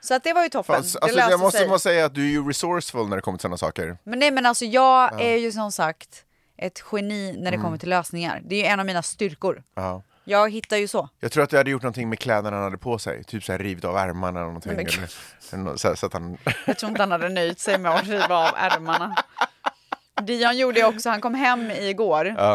Så att det var ju toppen. Fan, alltså, det löste jag måste, sig. måste säga att du är ju resourceful när det kommer till sådana saker. Men nej men alltså jag är ju som sagt ett geni när det kommer till lösningar. Det är ju en av mina styrkor. Ja. Jag hittar ju så. Jag tror att du hade gjort någonting med kläderna han hade på sig. Typ så här rivit av ärmarna eller någonting. Men gud. Eller, eller nå- så, här, så att han... Jag tror inte han hade nöjt sig med att riva av ärmarna. Dion gjorde ju också, han kom hem igår Ja.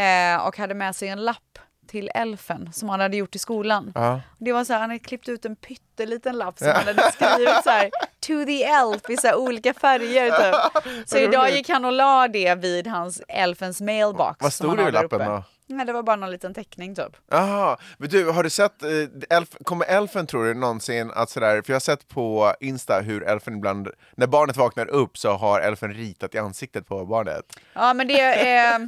eh, och hade med sig en lapp till elfen som han hade gjort i skolan. Ja. Det var så här, han hade klippt ut en pytteliten lapp som han hade skrivit så här to the elf i så här olika färger typ. Så idag gick han och la det vid hans elfens mailbox. Vad som stod han det i har där lappen uppe. då? Nej, det var bara någon liten teckning typ. Jaha, men du, har du sett, eh, elf, kommer elfen tror du någonsin att sådär, för jag har sett på Insta hur elfen ibland, när barnet vaknar upp så har elfen ritat i ansiktet på barnet. Ja, men det är... eh,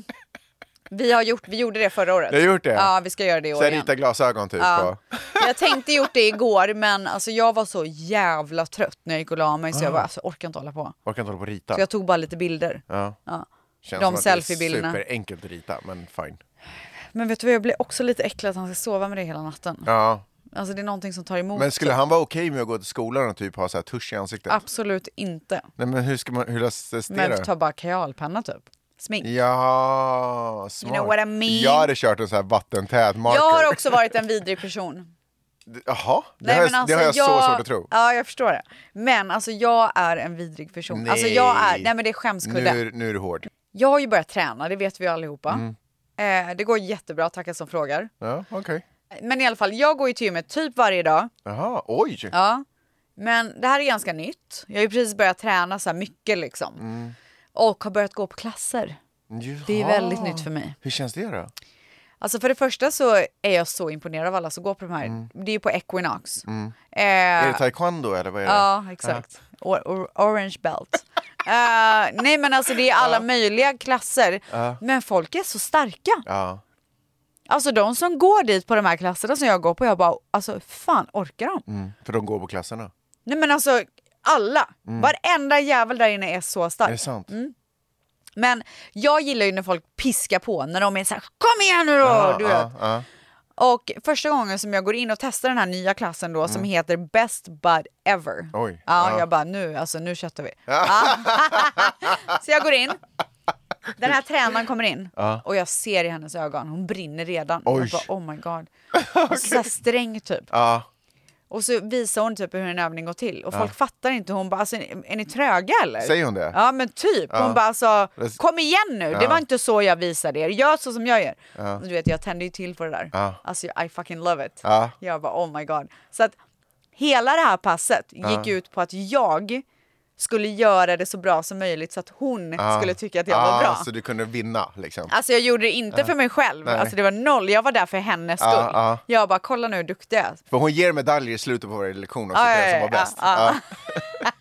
Vi, har gjort, vi gjorde det förra året. Ni har gjort det? Ja, vi ska göra det i år Så jag igen. ritar glasögon typ Ja. på. Jag tänkte gjort det igår, men alltså jag var så jävla trött när jag gick och la mig så jag bara, alltså, jag orkar inte hålla på. Orkar inte hålla på och rita. Så jag tog bara lite bilder. Ah. Ja. Ja. Känns De som att det är selfiebilderna. Superenkelt att rita, men fine. Men vet du vad, jag blir också lite äcklad att han ska sova med det hela natten. Ja. Alltså det är någonting som tar emot. Men skulle han vara okej med att gå till skolan och typ ha så här tusch i ansiktet? Absolut inte. Nej men hur ska man, hur löses det Ah. Men då? ta bara kajalpenna typ. Smink. Ja, smart. know what I mean? Jag hade kört en sån här vattentät marker. Jag har också varit en vidrig person. Jaha, det, har, jag- det har jag, så svårt att tro. Ja, alltså, jag förstår det. Men alltså jag är en vidrig person. Alltså jag är, nej men det är skämskudde. Nu, är- nu är du hård. Jag har ju börjat träna, det vet vi ju allihopa. Mm. Eh, det går jättebra, tackar som frågar. Ja, okej. Men i alla fall, jag går ju till gymmet typ varje dag. Jaha, oj! Ja. Men det här är ganska nytt. Jag har ju precis börjat träna så här mycket liksom. Mm. Och har börjat gå på klasser. Det är Jaha. väldigt nytt för mig. Hur känns det då? Alltså för det första så är jag så imponerad av alla som går på de här. Det är ju på Equinox. Eh, Mm. Är det taekwondo eller vad är det? Ja, exakt. Or, or, orange belt. Eh, nej men alltså det är alla möjliga klasser. Men folk är så starka. Ja. Alltså de som går dit på de här klasserna som jag går på, jag bara, alltså fan orkar de? Mm, för de går på klasserna. Nej men alltså alla, varenda jävel där inne är så Är Mm. det stark. sant? men jag gillar ju när folk piskar på, när de är så här, kom igen nu då! Ja, du vet. ja, ja. Och första gången som jag går in och testar den här nya klassen då som heter Best Bud Ever. Mm. Oj. Ja, Ja. jag bara nu, alltså nu köttar vi. Ja. <laughs> så jag går in. Den här tränaren kommer in och jag ser i hennes ögon, hon brinner redan. Oj. Jag bara oh <laughs> my god. Och så, så här sträng typ. Ja. Och så visar hon typ hur en övning går till och folk fattar inte. Hon bara alltså, är ni tröga eller? Säger hon det? Ja men typ. Hon bara alltså Det- kom igen nu. Det Ja. var inte så jag visade er. Gör så som jag gör. Och Du vet jag tände ju till på det där. Ja. Alltså I fucking love it. Ja. Jag bara oh my god. Så att hela det här passet gick ut på att jag skulle göra det så bra som möjligt så att hon Ja. skulle tycka att jag var bra. Så du kunde vinna liksom. Alltså jag gjorde det inte för mig själv. Nej. Alltså det var noll. Jag var där för hennes Ja, skull. ja. Jag bara kolla nu hur duktig jag är. För hon ger medaljer i slutet på varje lektion också, Ja, till den ja, som var ja, bäst. ja, ja.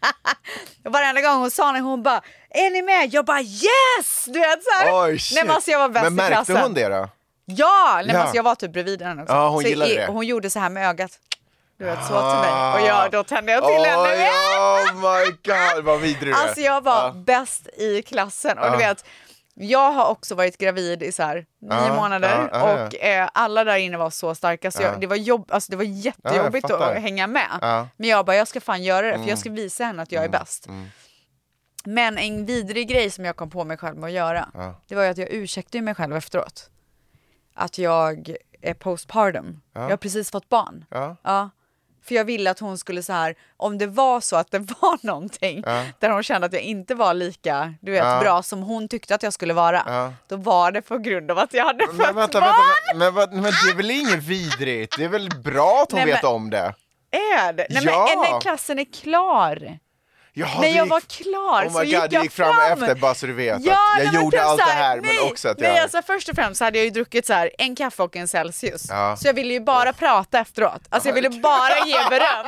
Och Varenda gång hon sa när hon bara “Är ni med?” Jag bara “Yes!” Du vet såhär. Oj, shit. <laughs> Nej, men alltså jag var bäst men i märkte klassen. hon det då? Ja! Ja. Nej, Men alltså jag var typ bredvid henne också. Ja, hon så gillade i- det. Hon gjorde så här med ögat. Du vet så till mig. Och jag, då tände jag till henne. Oj, oh my god, vad vidrig du är. Alltså jag var Ja. bäst i klassen. Och Ja. du vet, jag har också varit gravid i så här nio Ja, månader ja, ja, ja. och eh, alla där inne var så starka så jag, det, var jobb, alltså, det var jättejobbigt fattar. att hänga med. Ja. Mm. Men jag bara, jag ska fan göra det för jag ska visa henne att jag är bäst. Men en vidrig grej som jag kom på mig själv med att göra, Ja. det var ju att jag ursäktade mig själv efteråt. Att jag är postpartum. Jag har precis fått barn. Ja. Ja. För jag ville att hon skulle så här, om det var så att det <laughs> var någonting där hon kände att jag inte var lika du vet, Ja. bra som hon tyckte att jag skulle vara, Ja. då var det på grund av att jag hade fått Men vänta, barn. vänta, men, men, vad- men det är väl inget vidrigt? Det är väl bra att hon Nej, vet men- om det? Är det? Nej, Ja. men, nej, klassen är klar. Jaha, när du jag gick- var klar Oh my så gick god, du jag gick fram fram efter bara så du vet Ja, att nej, jag men gjorde typ allt så det här, här nej, men också att nej, jag... alltså, först och främst så hade jag ju druckit så här, en kaffe och en Celsius. Ja. Så jag ville ju bara prata efteråt. Alltså jag ville bara <laughs> ge beröm.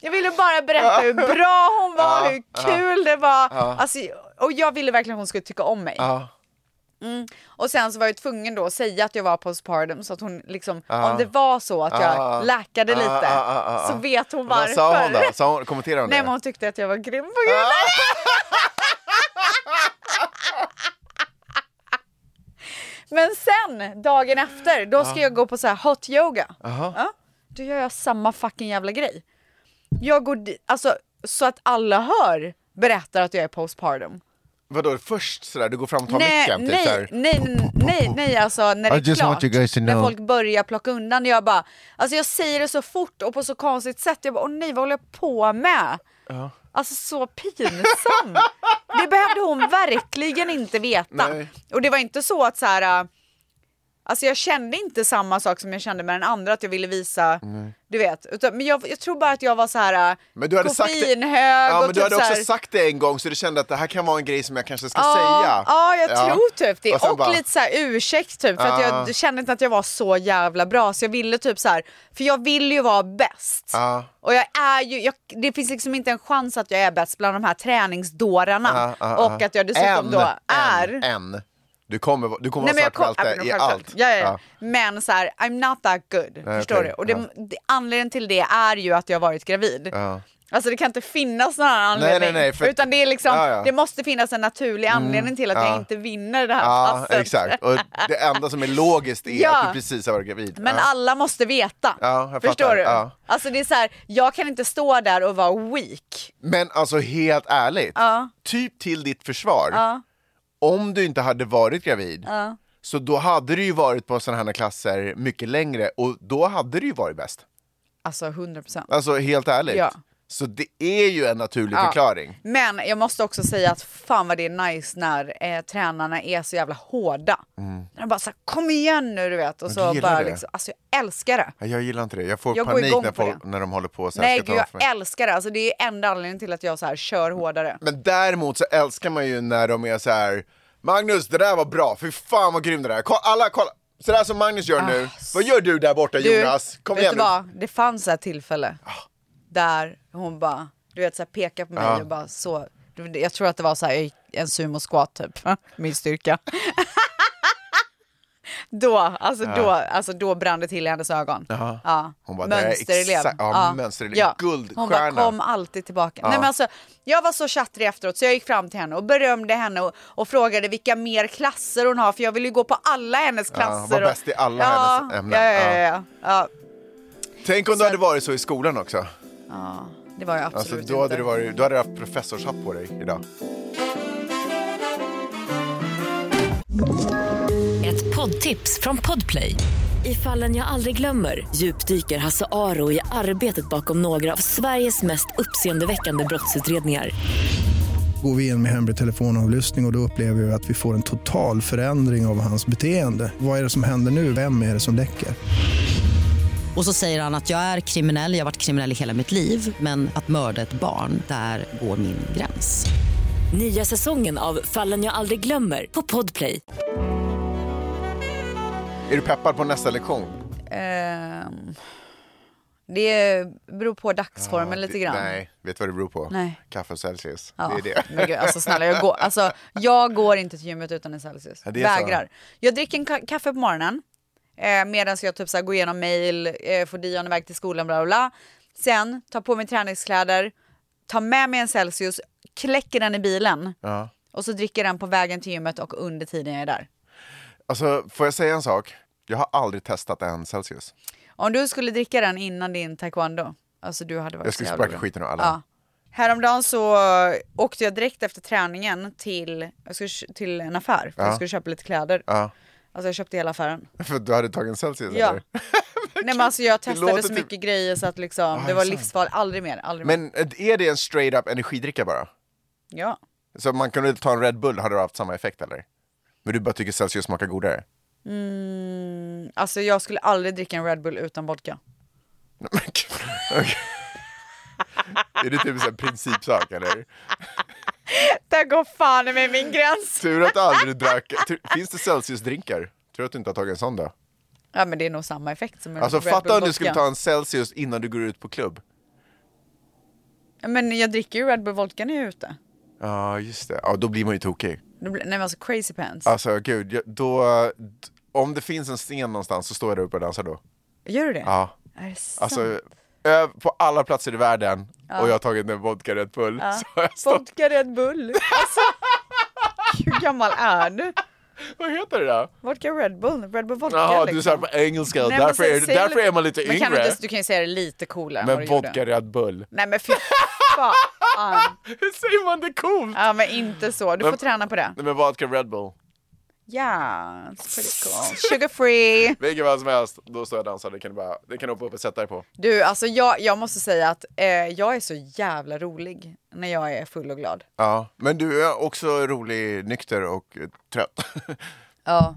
jag ville bara berätta hur bra hon var, Ja, hur ja. kul det var. Alltså, och jag ville verkligen att hon skulle tycka om mig. Ja, Och sen så var jag tvungen då att säga att jag var postpartum så att hon liksom, Ja. om det var så att jag Ja. läkade Ja, lite ja, ja, ja, ja. så vet hon varför. ah, Vad sa hon då? Sa hon, kommenterade hon Nej det? men hon tyckte att jag var grym på grund av det. Men sen, dagen efter, då ska jag gå på så här hot yoga. Jaha. Ja, då gör jag samma fucking jävla grej. Jag går di- alltså så att alla hör berättar att jag är postpartum. Vadå, först sådär, du går fram och tar nej, micken? Typ, nej, såhär. nej, nej, nej, nej, alltså när det I är just want klart. you guys to När know. folk börjar plocka undan. Jag bara, alltså jag säger det så fort och på så konstigt sätt. Jag bara, åh nej, vad håller jag på med? Alltså så pinsam. det behövde hon verkligen inte veta. Nej. Och det var inte så att så här. äh, Alltså jag kände inte samma sak som jag kände med den andra, att jag ville visa, du vet. Utan, men jag, jag tror bara att jag var så här äh, Men du hade sagt det- koffeinhög Ja, och men du typ hade så här, också sagt det en gång så du kände att det här kan vara en grej som jag kanske ska Ja, säga. Ja, jag tror typ det. Och sen Och, bara- lite så här ursäkt typ, för Ja. att jag kände inte att jag var så jävla bra. Så jag ville typ så här, för jag vill ju vara bäst. Ja. Och jag är ju, jag, det finns liksom inte en chans att Ah, jag är bäst bland de här träningsdårarna. Ja, ja, och ja. att jag dessutom en, då är... En, en. Du kommer, du kommer vara men jag kom- svartbälte ja, men i självklart. allt. Ja, ja, ja. Men så här, I'm not that good. Nej, förstår okej. du? Och det, Ja. det, anledningen till det är ju att jag har varit gravid. Ja. Alltså det kan inte finnas någon annan Nej, nej, anledning. nej, för- Utan det, är liksom, Ja, ja. det måste finnas en naturlig anledning till att ja. jag inte vinner det här Ja, passet. exakt. Och det enda som är logiskt är alltså. Ja. att du precis har varit gravid. Men ja. alla måste veta. Ja, jag förstår fattar. du? Ja. Alltså det är så här, jag kan inte stå där och vara weak. Men alltså helt ärligt, typ till ditt försvar, om du inte hade varit gravid, så då hade du ju varit på sådana här klasser mycket längre och då hade du ju varit bäst. Alltså 100 procent. Alltså helt ärligt. Ja. Så det är ju en naturlig Ja. förklaring. Men jag måste också säga att fan vad det är nice när eh, tränarna är så jävla hårda. De bara så här, kom igen nu du vet. Och Mm. du så gillar bara det? liksom, alltså jag älskar det. Ja, Jag gillar inte det, jag får Jag går panik igång när, på folk, det. när de håller på så här. Nej ska ta gud jag för mig. älskar det. Alltså det är enda anledningen till att jag så här kör hårdare. Men däremot så älskar man ju när de är så här. Magnus det där var bra, fy fan vad grym det där Kolla, alla kolla! Så där som Magnus gör nu, vad gör du där borta Jonas? Kom vet igen Ah, du nu. Ah. vad? Det fanns ett tillfälle där hon bara, du vet så här pekar på mig Ah. och bara så. du- Jag tror att det var så här jag gick en sumo-squat typ, <laughs> min styrka. Då, alltså, då, alltså då brann det till i hennes ögon. Ja. Ah. Hon bara, det här är mönsterelev. exakt- ja, mönsterelev. Guldstjärna. Hon bara, kom alltid tillbaka. Nej, men alltså, jag var så tjattrig efteråt så jag gick fram till henne och berömde henne och, och frågade vilka mer klasser hon har för jag vill ju gå på alla hennes hon var klasser. och- bäst i alla ja, hennes ämnen. Ja, ja, ja, ja. ja. Tänk om du hade varit så i skolan också. Det var jag absolut Alltså, då, hade inte. du varit, då hade du haft professorshatt på dig idag. Ett poddtips från Podplay. I fallen jag aldrig glömmer djupdyker Hasse Aro i arbetet bakom några av Sveriges mest uppseendeväckande brottsutredningar. Går vi in med hemlig telefonavlyssning och, och då upplever vi att vi får en total förändring av hans beteende. Vad är det som händer nu? Vem är det som läcker? Och så säger han att jag är kriminell, jag har varit kriminell i hela mitt liv men att mörda ett barn, där går min gräns. Nya säsongen av Fallen jag aldrig glömmer på Podplay. Är du peppad på nästa lektion? Ehm, det beror på dagsformen Ja, lite det- grann. Nej, vet du vad det beror på? Nej. Kaffe och Celsius. Ja, Det är det. Men gud, alltså snälla, jag går, alltså, jag går inte till gymmet utan en Celsius. Ja, det är så. Vägrar. Jag dricker en ka- kaffe på morgonen eh, medan jag typ så här, går igenom mail, eh, får Dion iväg till skolan, bla bla bla. Sen tar på mig träningskläder, tar med mig en Celsius, kläcker den i bilen Ja. och så dricker jag den på vägen till gymmet och under tiden jag är där. Alltså, får jag säga en sak? Jag har aldrig testat en Celsius. <laughs> Om du skulle dricka den innan din taekwondo, alltså du hade varit Jag skulle så jävla sparka bra. skiten ur alla. Ja. Häromdagen så åkte jag direkt efter träningen till, jag skulle, kö- till en affär för Ja. jag skulle köpa lite kläder. Ja. Alltså jag köpte hela affären. För du hade tagit en Celsius Ja. <laughs> eller? <laughs> Nej men alltså jag låter testade så typ- mycket grejer så att liksom, det var livsfarligt. Aldrig mer, aldrig mer. Men är det en straight up energidricka bara? Ja. Så man kunde ta en Red Bull, hade det haft samma effekt eller? Men du bara tycker Celsius smakar godare? <laughs> Alltså jag skulle aldrig dricka en Red Bull utan vodka. Nej, men gud. Okej. Är det typ en principsak eller? Där går fan med min gräns! Tur att du aldrig drack. Tur- Finns det Celsius-drinkar? Tur att du inte har tagit en sån då. Ja men det är nog samma effekt som en Alltså Red Bull fatta om du vodka. skulle ta en Celsius innan du går ut på klubb. Ja, Men jag dricker ju Red Bull vodka när jag är ute. Ja, just det. Ja, då blir man ju tokig. Det blir- Nej men alltså crazy pants. Alltså gud, jag, då... d- Om det finns en sten någonstans så står jag där uppe och dansar då. Gör du det? Ja. Är det sant? Alltså, ö- på alla platser i världen och jag har tagit en vodka Red Bull <laughs> så har jag stått... Vodka Red Bull. <laughs> Alltså, hur gammal är du? Vad heter det då? Vodka Red Bull? Red Bull vodka Jaha, liksom. du sa det på engelska och Nej, men därför, säg- är, säg därför är man lite men Kan du, yngre. inte, du kan ju säga det lite coolare än men vad du vodka gjorde. Red Bull. <laughs> Nej men fy fan. Hur säger man det coolt? Ja men inte så, du får Men- träna på det. Nej men vodka Red Bull. Ja, yeah, it's pretty cool. Sugar free. Vilken väg som helst, då står jag och dansar. Det kan du bara, det kan du hoppa upp och sätta dig på. Du alltså jag, jag måste säga att eh, jag är så jävla rolig när jag är full och glad. Ja, men du är också rolig, nykter och eh, trött. <laughs> Ja.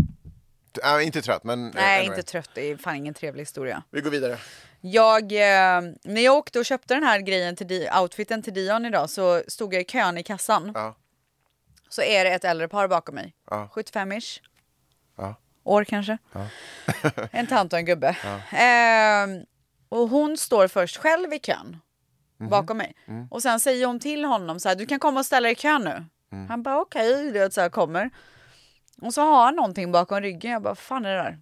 Nej, inte trött men... eh, Nej anyway. inte trött, det är fan ingen trevlig historia. Vi går vidare. Jag, eh, när jag åkte och köpte den här grejen till Di- outfiten till Dion idag så stod jag i kön i kassan. Ja. Så är det ett äldre par bakom mig. Ja. 75-ish. Ja. År kanske. en tant och en gubbe. Ehm, och hon står först själv i kön. Bakom mig. Och sen säger hon till honom så här, du kan komma och ställa dig i kön nu. Han bara okej, okay, så här kommer. Och så har han någonting bakom ryggen. Jag bara, fan är det där?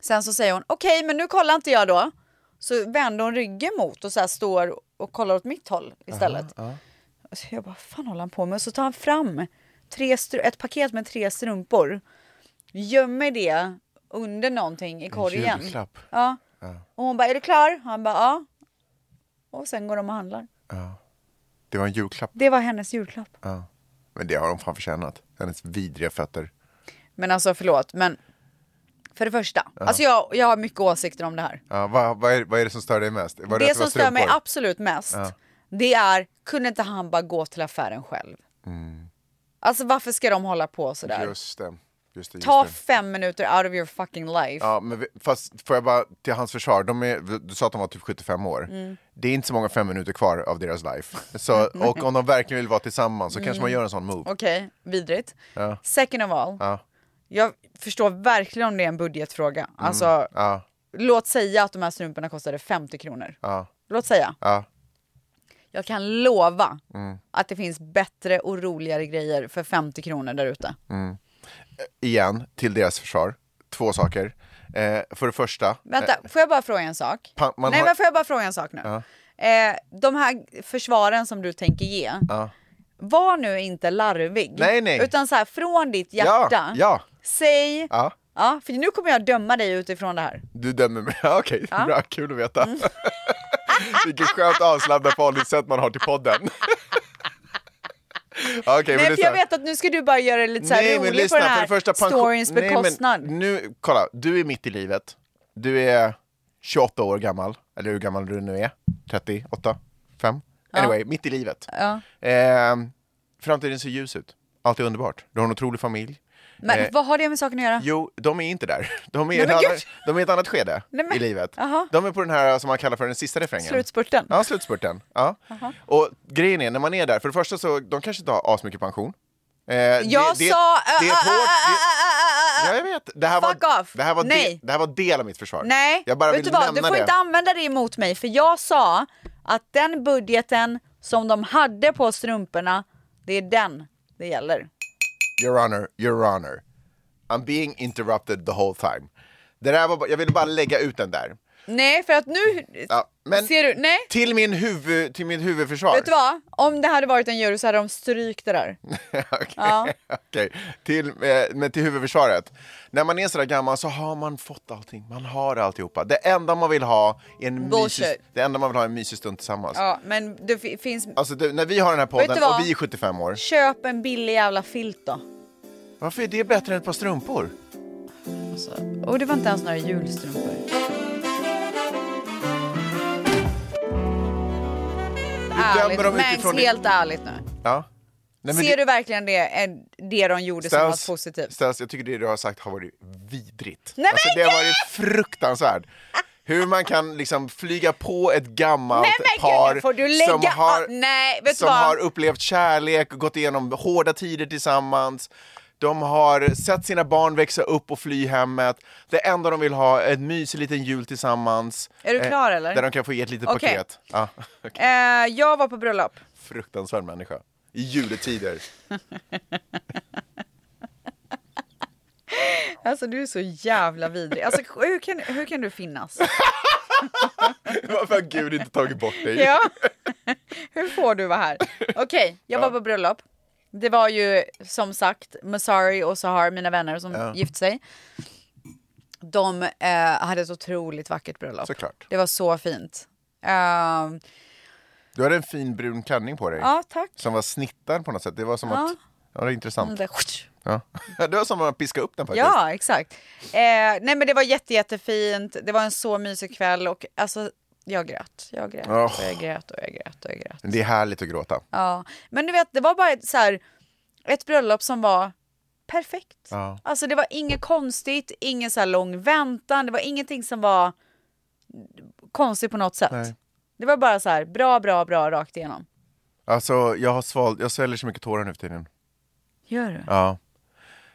Sen så säger hon, okej men nu kollar inte jag då. Så vänder hon ryggen mot och så här står och kollar åt mitt håll istället. Och Så jag bara, fan håller han på med? Och så tar han fram tre stru- ett paket med tre strumpor. Gömmer det under någonting i korgen. julklapp. Ja. Och hon bara, är du klar? Han bara, ja. Och sen går de och handlar. Det var en julklapp. Det var hennes julklapp. Ja. Men det har de fan förtjänat. Hennes vidriga fötter. Men alltså förlåt, men för det första. Alltså jag, jag har mycket åsikter om det här. Ja, vad, vad, är, vad är det som stör dig mest? Var det att var som stör mig strumpor? absolut mest, det är kunde inte han bara gå till affären själv? Alltså varför ska de hålla på sådär? Mm. Just det. Just det, just Ta det. fem minuter out of your fucking life. Ja, men vi, fast får jag bara, till hans försvar, de är, du sa att de var typ 75 år. Mm. Det är inte så många fem minuter kvar av deras life. <laughs> Så, och om de verkligen vill vara tillsammans så kanske man Mm. gör en sån move. Okej, vidrigt. Second of all, Ja. Mm, jag förstår verkligen om det är en budgetfråga. Alltså, Ja, låt säga att de här strumporna kostade 50 kronor. ja, Låt säga. ja. Mm. Jag kan lova att det finns bättre och roligare grejer för 50 kronor där ute. Mm. Igen, till deras försvar, två saker. Eh, för det första, Vänta, får jag bara fråga en sak? Eh. Pa- man Nej har- men får jag bara fråga en sak nu? Eh, de här försvaren som du tänker ge, var nu inte larvig. Nej, nej. Utan så här, från ditt Ja, hjärta, ja. säg... Ja. Ja, för nu kommer jag döma dig utifrån det här. Du dömer mig? <laughs> Ja, Okej, bra, kul att veta. Mm. <laughs> Vilket skönt avslappnat förhållningssätt man har till <laughs> podden. <laughs> Ja, Okej, men Nej, för jag lyssna. vet att nu ska du bara göra det lite så här Nej, men rolig lyssna, på den för här det första, pension- storyns Nej, men bekostnad. nu, kolla, du är mitt i livet. Du är 28 år gammal, eller hur gammal du nu är. 38, 5. Anyway, mitt i livet. Ja. Eh, framtiden ser ljus ut. Allt är underbart. Du har en otrolig familj. Men Eh, vad har det med saken att göra? Jo, de är inte där. <laughs> De är, i Nej, ett, men annat, gud! de är i ett annat skede Nej, men- i livet. Aha. De är på den här som man kallar för den sista refrängen. Slutspurten. Ja, slutspurten. Ja. Och grejen är, när man är där, för det första så de kanske inte har asmycket pension. Eh, jag jag sa... Ah, Det är ett hårt... Det, ja, jag vet. Det här Fuck var, off. Det här var, Nej. De, det här var del av mitt försvar. Nej, jag bara vet vill du vad? Du nämna får det. inte använda det emot mig för jag sa att den budgeten som de hade på strumporna, det är den det gäller. Your honor, your honor. I'm being interrupted the whole time. Det där var, bara- jag ville bara lägga ut den där. Nej, för att nu Ja, men ser du, nej. till, min huvud, till min huvudförsvar. Vet du vad? Om det hade varit en jury så hade de strykt det där. <laughs> Okej, Ja. okej. till, eh, men till huvudförsvaret. När man är sådär gammal så har man fått allting, man har alltihopa. Det enda man vill ha är en, mysig, Bullshit. det enda man vill ha är en mysig stund tillsammans. Ja, men det fi- finns... Alltså du, när vi har den här Vet podden du vad? och vi är 75 år, Köp en billig jävla filt då. varför är det bättre än ett par strumpor? Alltså, och det var inte ens några julstrumpor. Ärligt, dömer dem Mangs, utifrån din- helt ärligt nu. Ja. Nej, Ser du verkligen det, är det de gjorde som var positivt? Ställs, jag tycker det du har sagt har varit vidrigt. Nej, alltså, det men har varit fruktansvärt. Hur man kan liksom flyga på ett gammalt Nej, men par gud, får du lägga som, har, av- Nej, vet du som vad? har upplevt kärlek och gått igenom hårda tider tillsammans. De har sett sina barn växa upp och fly hemmet. Det enda de vill ha är en mysig liten jul tillsammans. Eh, Är du klar, eller? Där de kan få ge ett litet Okej. paket. Ja, <laughs> okej. Eh, jag var på bröllop. Fruktansvärd människa. I juletider. <laughs> Alltså du är så jävla vidrig. Alltså, hur, kan, hur kan du finnas? Varför har Gud inte tagit bort dig? Ja. <laughs> Hur får du vara här? Okej, jag var på bröllop. Det var ju som sagt Masari och Sahar, mina vänner som gift sig. De eh, hade ett otroligt vackert bröllop. Såklart. Det var så fint. Ehm, Du hade en fin brun klänning på dig. ja, tack. Som var snittad på något sätt. Det var som Ja. att... Ja, det är Den intressant. där- Ja. <laughs> Det var som att piska upp den faktiskt. Ja, exakt. Eh, nej, men det var jätte, jättefint. Det var en så mysig kväll och alltså, jag grät. Jag grät Åh. och jag grät och jag grät och jag grät. Men Det är härligt att gråta. Ja, men du vet, det var bara ett, så här, ett bröllop som var perfekt. Ja. Alltså det var inget konstigt, ingen så här lång väntan, det var ingenting som var konstigt på något sätt. Nej. Det var bara så här bra, bra, bra rakt igenom. Alltså, jag har svalt... Jag sväljer så mycket tårar nu för tiden. Gör du? Ja.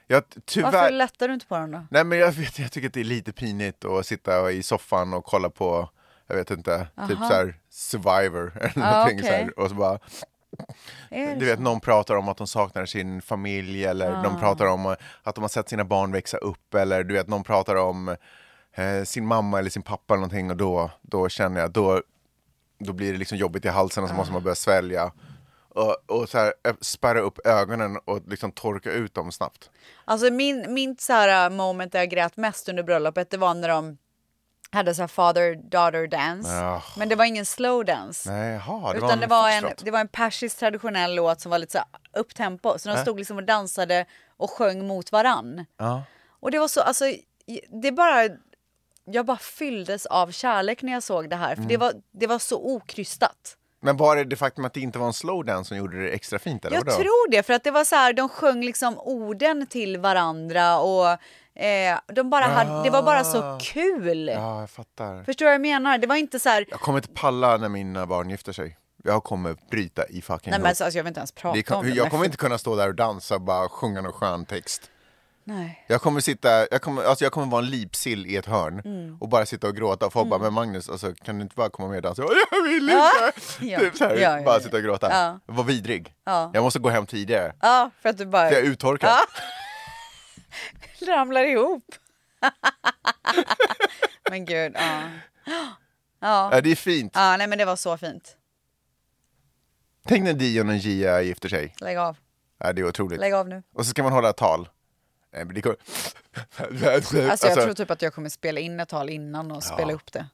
Jag, Varför tyvärr... lättar du inte på dem då? Nej, men jag vet Jag tycker att det är lite pinigt att sitta i soffan och kolla på... Jag vet inte. Typ så här Survivor <laughs> eller någonting Ah, okej. så här. Och så bara... Är det Du vet, så? någon pratar om att de saknar sin familj eller de Ah. pratar om eh, att de har sett sina barn växa upp eller du vet, någon pratar om eh, sin mamma eller sin pappa eller någonting och då, då känner jag, då, då blir det liksom jobbigt i halsen och så Ah. måste man börja svälja. Och, och så här, ö- spärra upp ögonen och liksom torka ut dem snabbt. Alltså min, min så här äh, moment där jag grät mest under bröllopet, det var när de hade så här father-daughter dance. Ja. Men det var ingen slow dance. Nej, jaha, det var Utan det var, en, foxtrot. det var en persisk traditionell låt som var lite så här upptempo. Så de Äh. stod liksom och dansade och sjöng mot varann. Ja. Och det var så, alltså, det bara, jag bara fylldes av kärlek när jag såg det här. För det, Mm. var, det var så okrystat. Men var det det faktum att det inte var en slowdown som gjorde det extra fint? Eller Jag vadå? tror det, för att det var så här, de sjöng liksom orden till varandra och eh, de bara hade, det var bara så Ah. kul. Ja, jag fattar. Förstår du vad jag menar? Det var inte så här, Jag kommer inte palla när mina barn gifter sig. Jag kommer bryta i fucking nej men ihop. alltså, jag vill inte ens prata Det om kan, det. jag men kommer för- inte kunna stå där och dansa och bara sjunga någon skön text. Nej. Jag kommer sitta, jag kommer, alltså jag kommer vara en lipsill i ett hörn Mm. och bara sitta och gråta och folk bara, men Magnus, alltså, kan du inte bara komma med och dansa? Jag vill inte! <laughs> Ja, ja, typ så här, ja, ja, bara ja. sitta och gråta. Ja. Var vidrig. Ja. Jag måste gå hem tidigare. Ja, för att du bara Jag är uttorkad. Ja. ramlar ihop. <laughs> men gud, ja. Ja, Ja, det är fint. ja, nej men det var så fint. Tänk när Dion och Gia gifter sig. Lägg av, Ja, det är otroligt. lägg av nu. Och så ska man hålla ett tal. Nej, men det kommer... <laughs> Alltså jag tror typ att jag kommer spela in ett tal innan och spela upp det.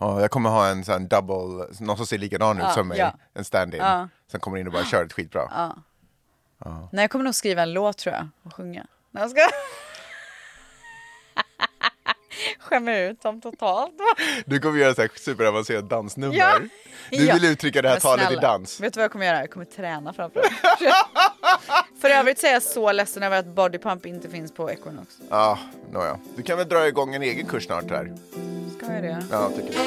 Ja, jag kommer ha en sån double, någon som ser likadan ut Ja, som mig, ja. en stand-in. Ja. Sen kommer in och bara kör ett skitbra. Nej, jag kommer nog skriva en låt tror jag och sjunga. Nej, jag ska... <laughs> Skämmer ut dem totalt. <laughs> Du kommer göra så här superavancerat dansnummer. Ja. Du Ja. vill uttrycka det här Men talet i snälla, dans. Vet du vad jag kommer göra? Jag kommer träna framför dem. <laughs> För övrigt så är jag så ledsen över att bodypump inte finns på Equinox. Ja, nåja. Du kan väl dra igång en egen kurs snart där. Ska jag det? Ja, tycker jag.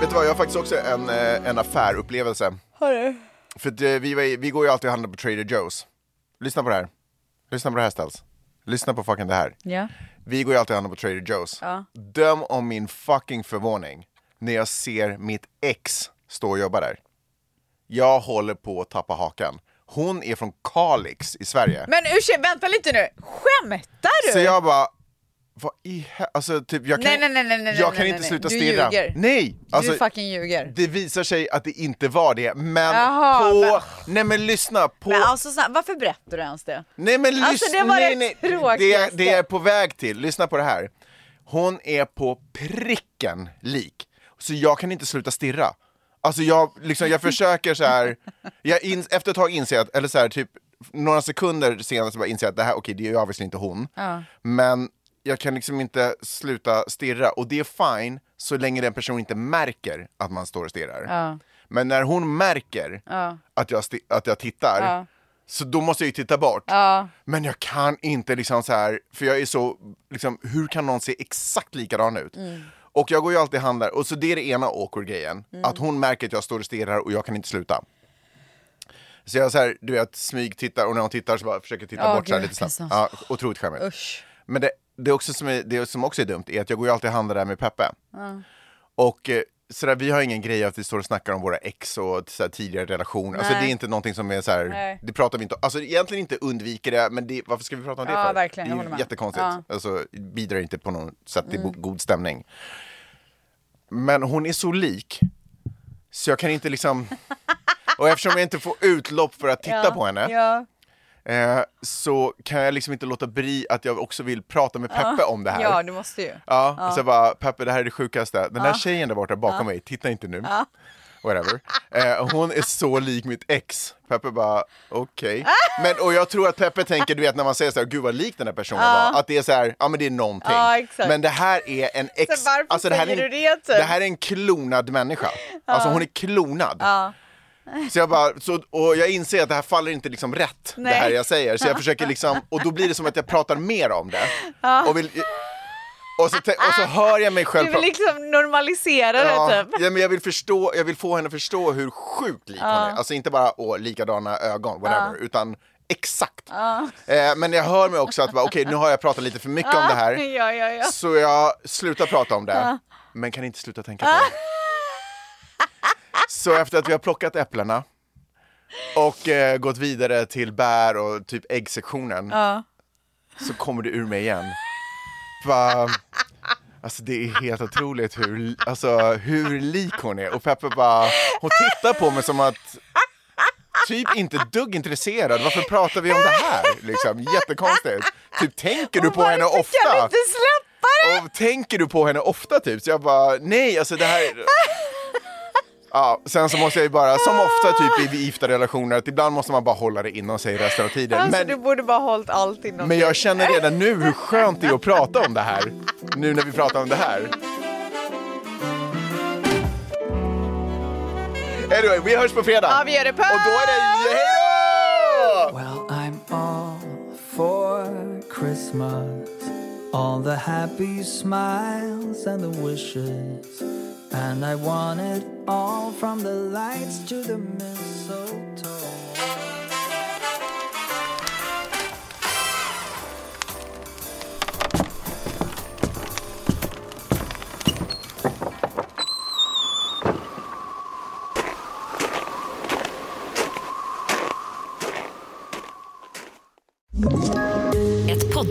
Vet du vad, jag har faktiskt också en, eh, en affärupplevelse. Har du? För att, eh, vi, var i- vi går ju alltid och handlar på Trader Joe's. Lyssna på det här. Lyssna på det här ställs. Lyssna på fucking det här. Ja. Vi går ju alltid och handlar på Trader Joe's. Ja. Döm om min fucking förvåning när jag ser mitt ex stå och jobba där. Jag håller på att tappa hakan. Hon är från Kalix i Sverige. Men ursäkta, vänta lite nu. Skämtar du? Så jag bara, vad i he- Alltså typ, jag kan, Nej, nej, nej, nej, nej, jag kan nej, inte nej. sluta Du stirra. ljuger. Nej! Alltså, du fucking ljuger. det visar sig att det inte var det, men Jaha, på... Nej men lyssna! På, Men alltså, snälla, varför berättar du ens det? Nej men lyssna, Alltså, det var nej, det nej. Det, är- tråkigaste. det är på väg till, lyssna på det här. Hon är på pricken lik, så jag kan inte sluta stirra. Alltså jag, liksom, jag försöker så här, jag in, efter ett tag inser jag, att, eller så här, typ några sekunder senare så bara inser jag att det här, okej det är ju obviously inte hon. Men jag kan liksom inte sluta stirra och det är fine så länge den personen inte märker att man står och stirrar. Men när hon märker att, jag sti- att jag tittar, så då måste jag ju titta bort. Men jag kan inte liksom så här, för jag är så, liksom, hur kan någon se exakt likadan ut? Mm. Och jag går ju alltid och handlar, och så det är det ena awkward grejen, Mm. att hon märker att jag står och stirrar och jag kan inte sluta. Så jag så här, du vet, smygtittar och när hon tittar så bara försöker titta Ja, bort så här gud, lite snabbt. pinsamt. Ja, otroligt skämmigt. Usch. Men det, det, också som är, det som också är dumt är att jag går ju alltid och handlar där med Peppe. Och eh, sådär, vi har ingen grej att vi står och snackar om våra ex och sådär, tidigare relationer. Alltså Nej. det är inte någonting som är så här, Nej. det pratar vi inte om. Alltså egentligen inte undviker det, men det, varför ska vi prata om det Ja, för? verkligen, jag det är håller med. jättekonstigt. Ja. Mm. Alltså bidrar inte på något sätt till go- god stämning. Men hon är så lik, så jag kan inte <laughs> liksom... Och eftersom jag inte får utlopp för att titta Ja, på henne, Ja. eh, så kan jag liksom inte låta bli att jag också vill prata med Peppe om det här. ja, du måste ju. Ja, och så jag bara, Peppe det här är det sjukaste. Den där tjejen där borta bakom mig, titta inte nu. Whatever. Eh, hon är så lik mitt ex. Peppe bara, okej. Ah. Men Och jag tror att Peppe tänker, du vet när man säger så här, gud vad lik den här personen var. Att det är så här, ja men det är någonting. Ja, Ah. exakt. Men det här är en ex. alltså, Så varför det här säger är, en- du det, typ? Ah. Det här är en klonad människa. Alltså hon är klonad. Så jag bara, så, och jag inser att det här faller inte liksom rätt, Nej. det här jag säger. Så jag försöker liksom, och då blir det som att jag pratar mer om det. Ah. Och, vill, och, så, tän- och så hör jag mig själv Du vill pra- liksom normalisera det Ja, typ. <laughs> ja, men jag, vill förstå, jag vill få henne att förstå hur sjukt lik Ah. hon är. Alltså inte bara åh, likadana ögon, whatever, utan exakt. Ah. Eh, men jag hör mig också att bara, okej, nu har jag pratat lite för mycket om det här. Ah. Ja, ja, ja. Så jag slutar prata om det, men kan inte sluta tänka på det. Så efter att vi har plockat äpplena och eh, gått vidare till bär och typ äggsektionen Ja. så kommer det ur mig igen. Bara, alltså det är helt otroligt hur, alltså, hur lik hon är. Och Peppe bara, hon tittar på mig som att typ inte ett dugg intresserad. Varför pratar vi om det här? Liksom, jättekonstigt. Typ tänker du på henne Varför ofta? Kan vi inte släppa det? Och tänker du på henne ofta typ? Så jag bara, nej alltså det <laughs> här... Ja, sen så måste jag ju bara, som ofta typ i gifta relationer, att ibland måste man bara hålla det inom sig resten av tiden. Alltså du Men, borde bara hållit allt inom men dig. jag känner redan nu hur skönt det är att prata om det här. Nu när vi pratar om det här. Anyway, vi hörs på fredag. Ja, vi gör det. Puss! Och då är det, hej då! Well, I'm all for Christmas. All the happy smiles and the wishes. And I want it all from the lights to the mistletoe. Ett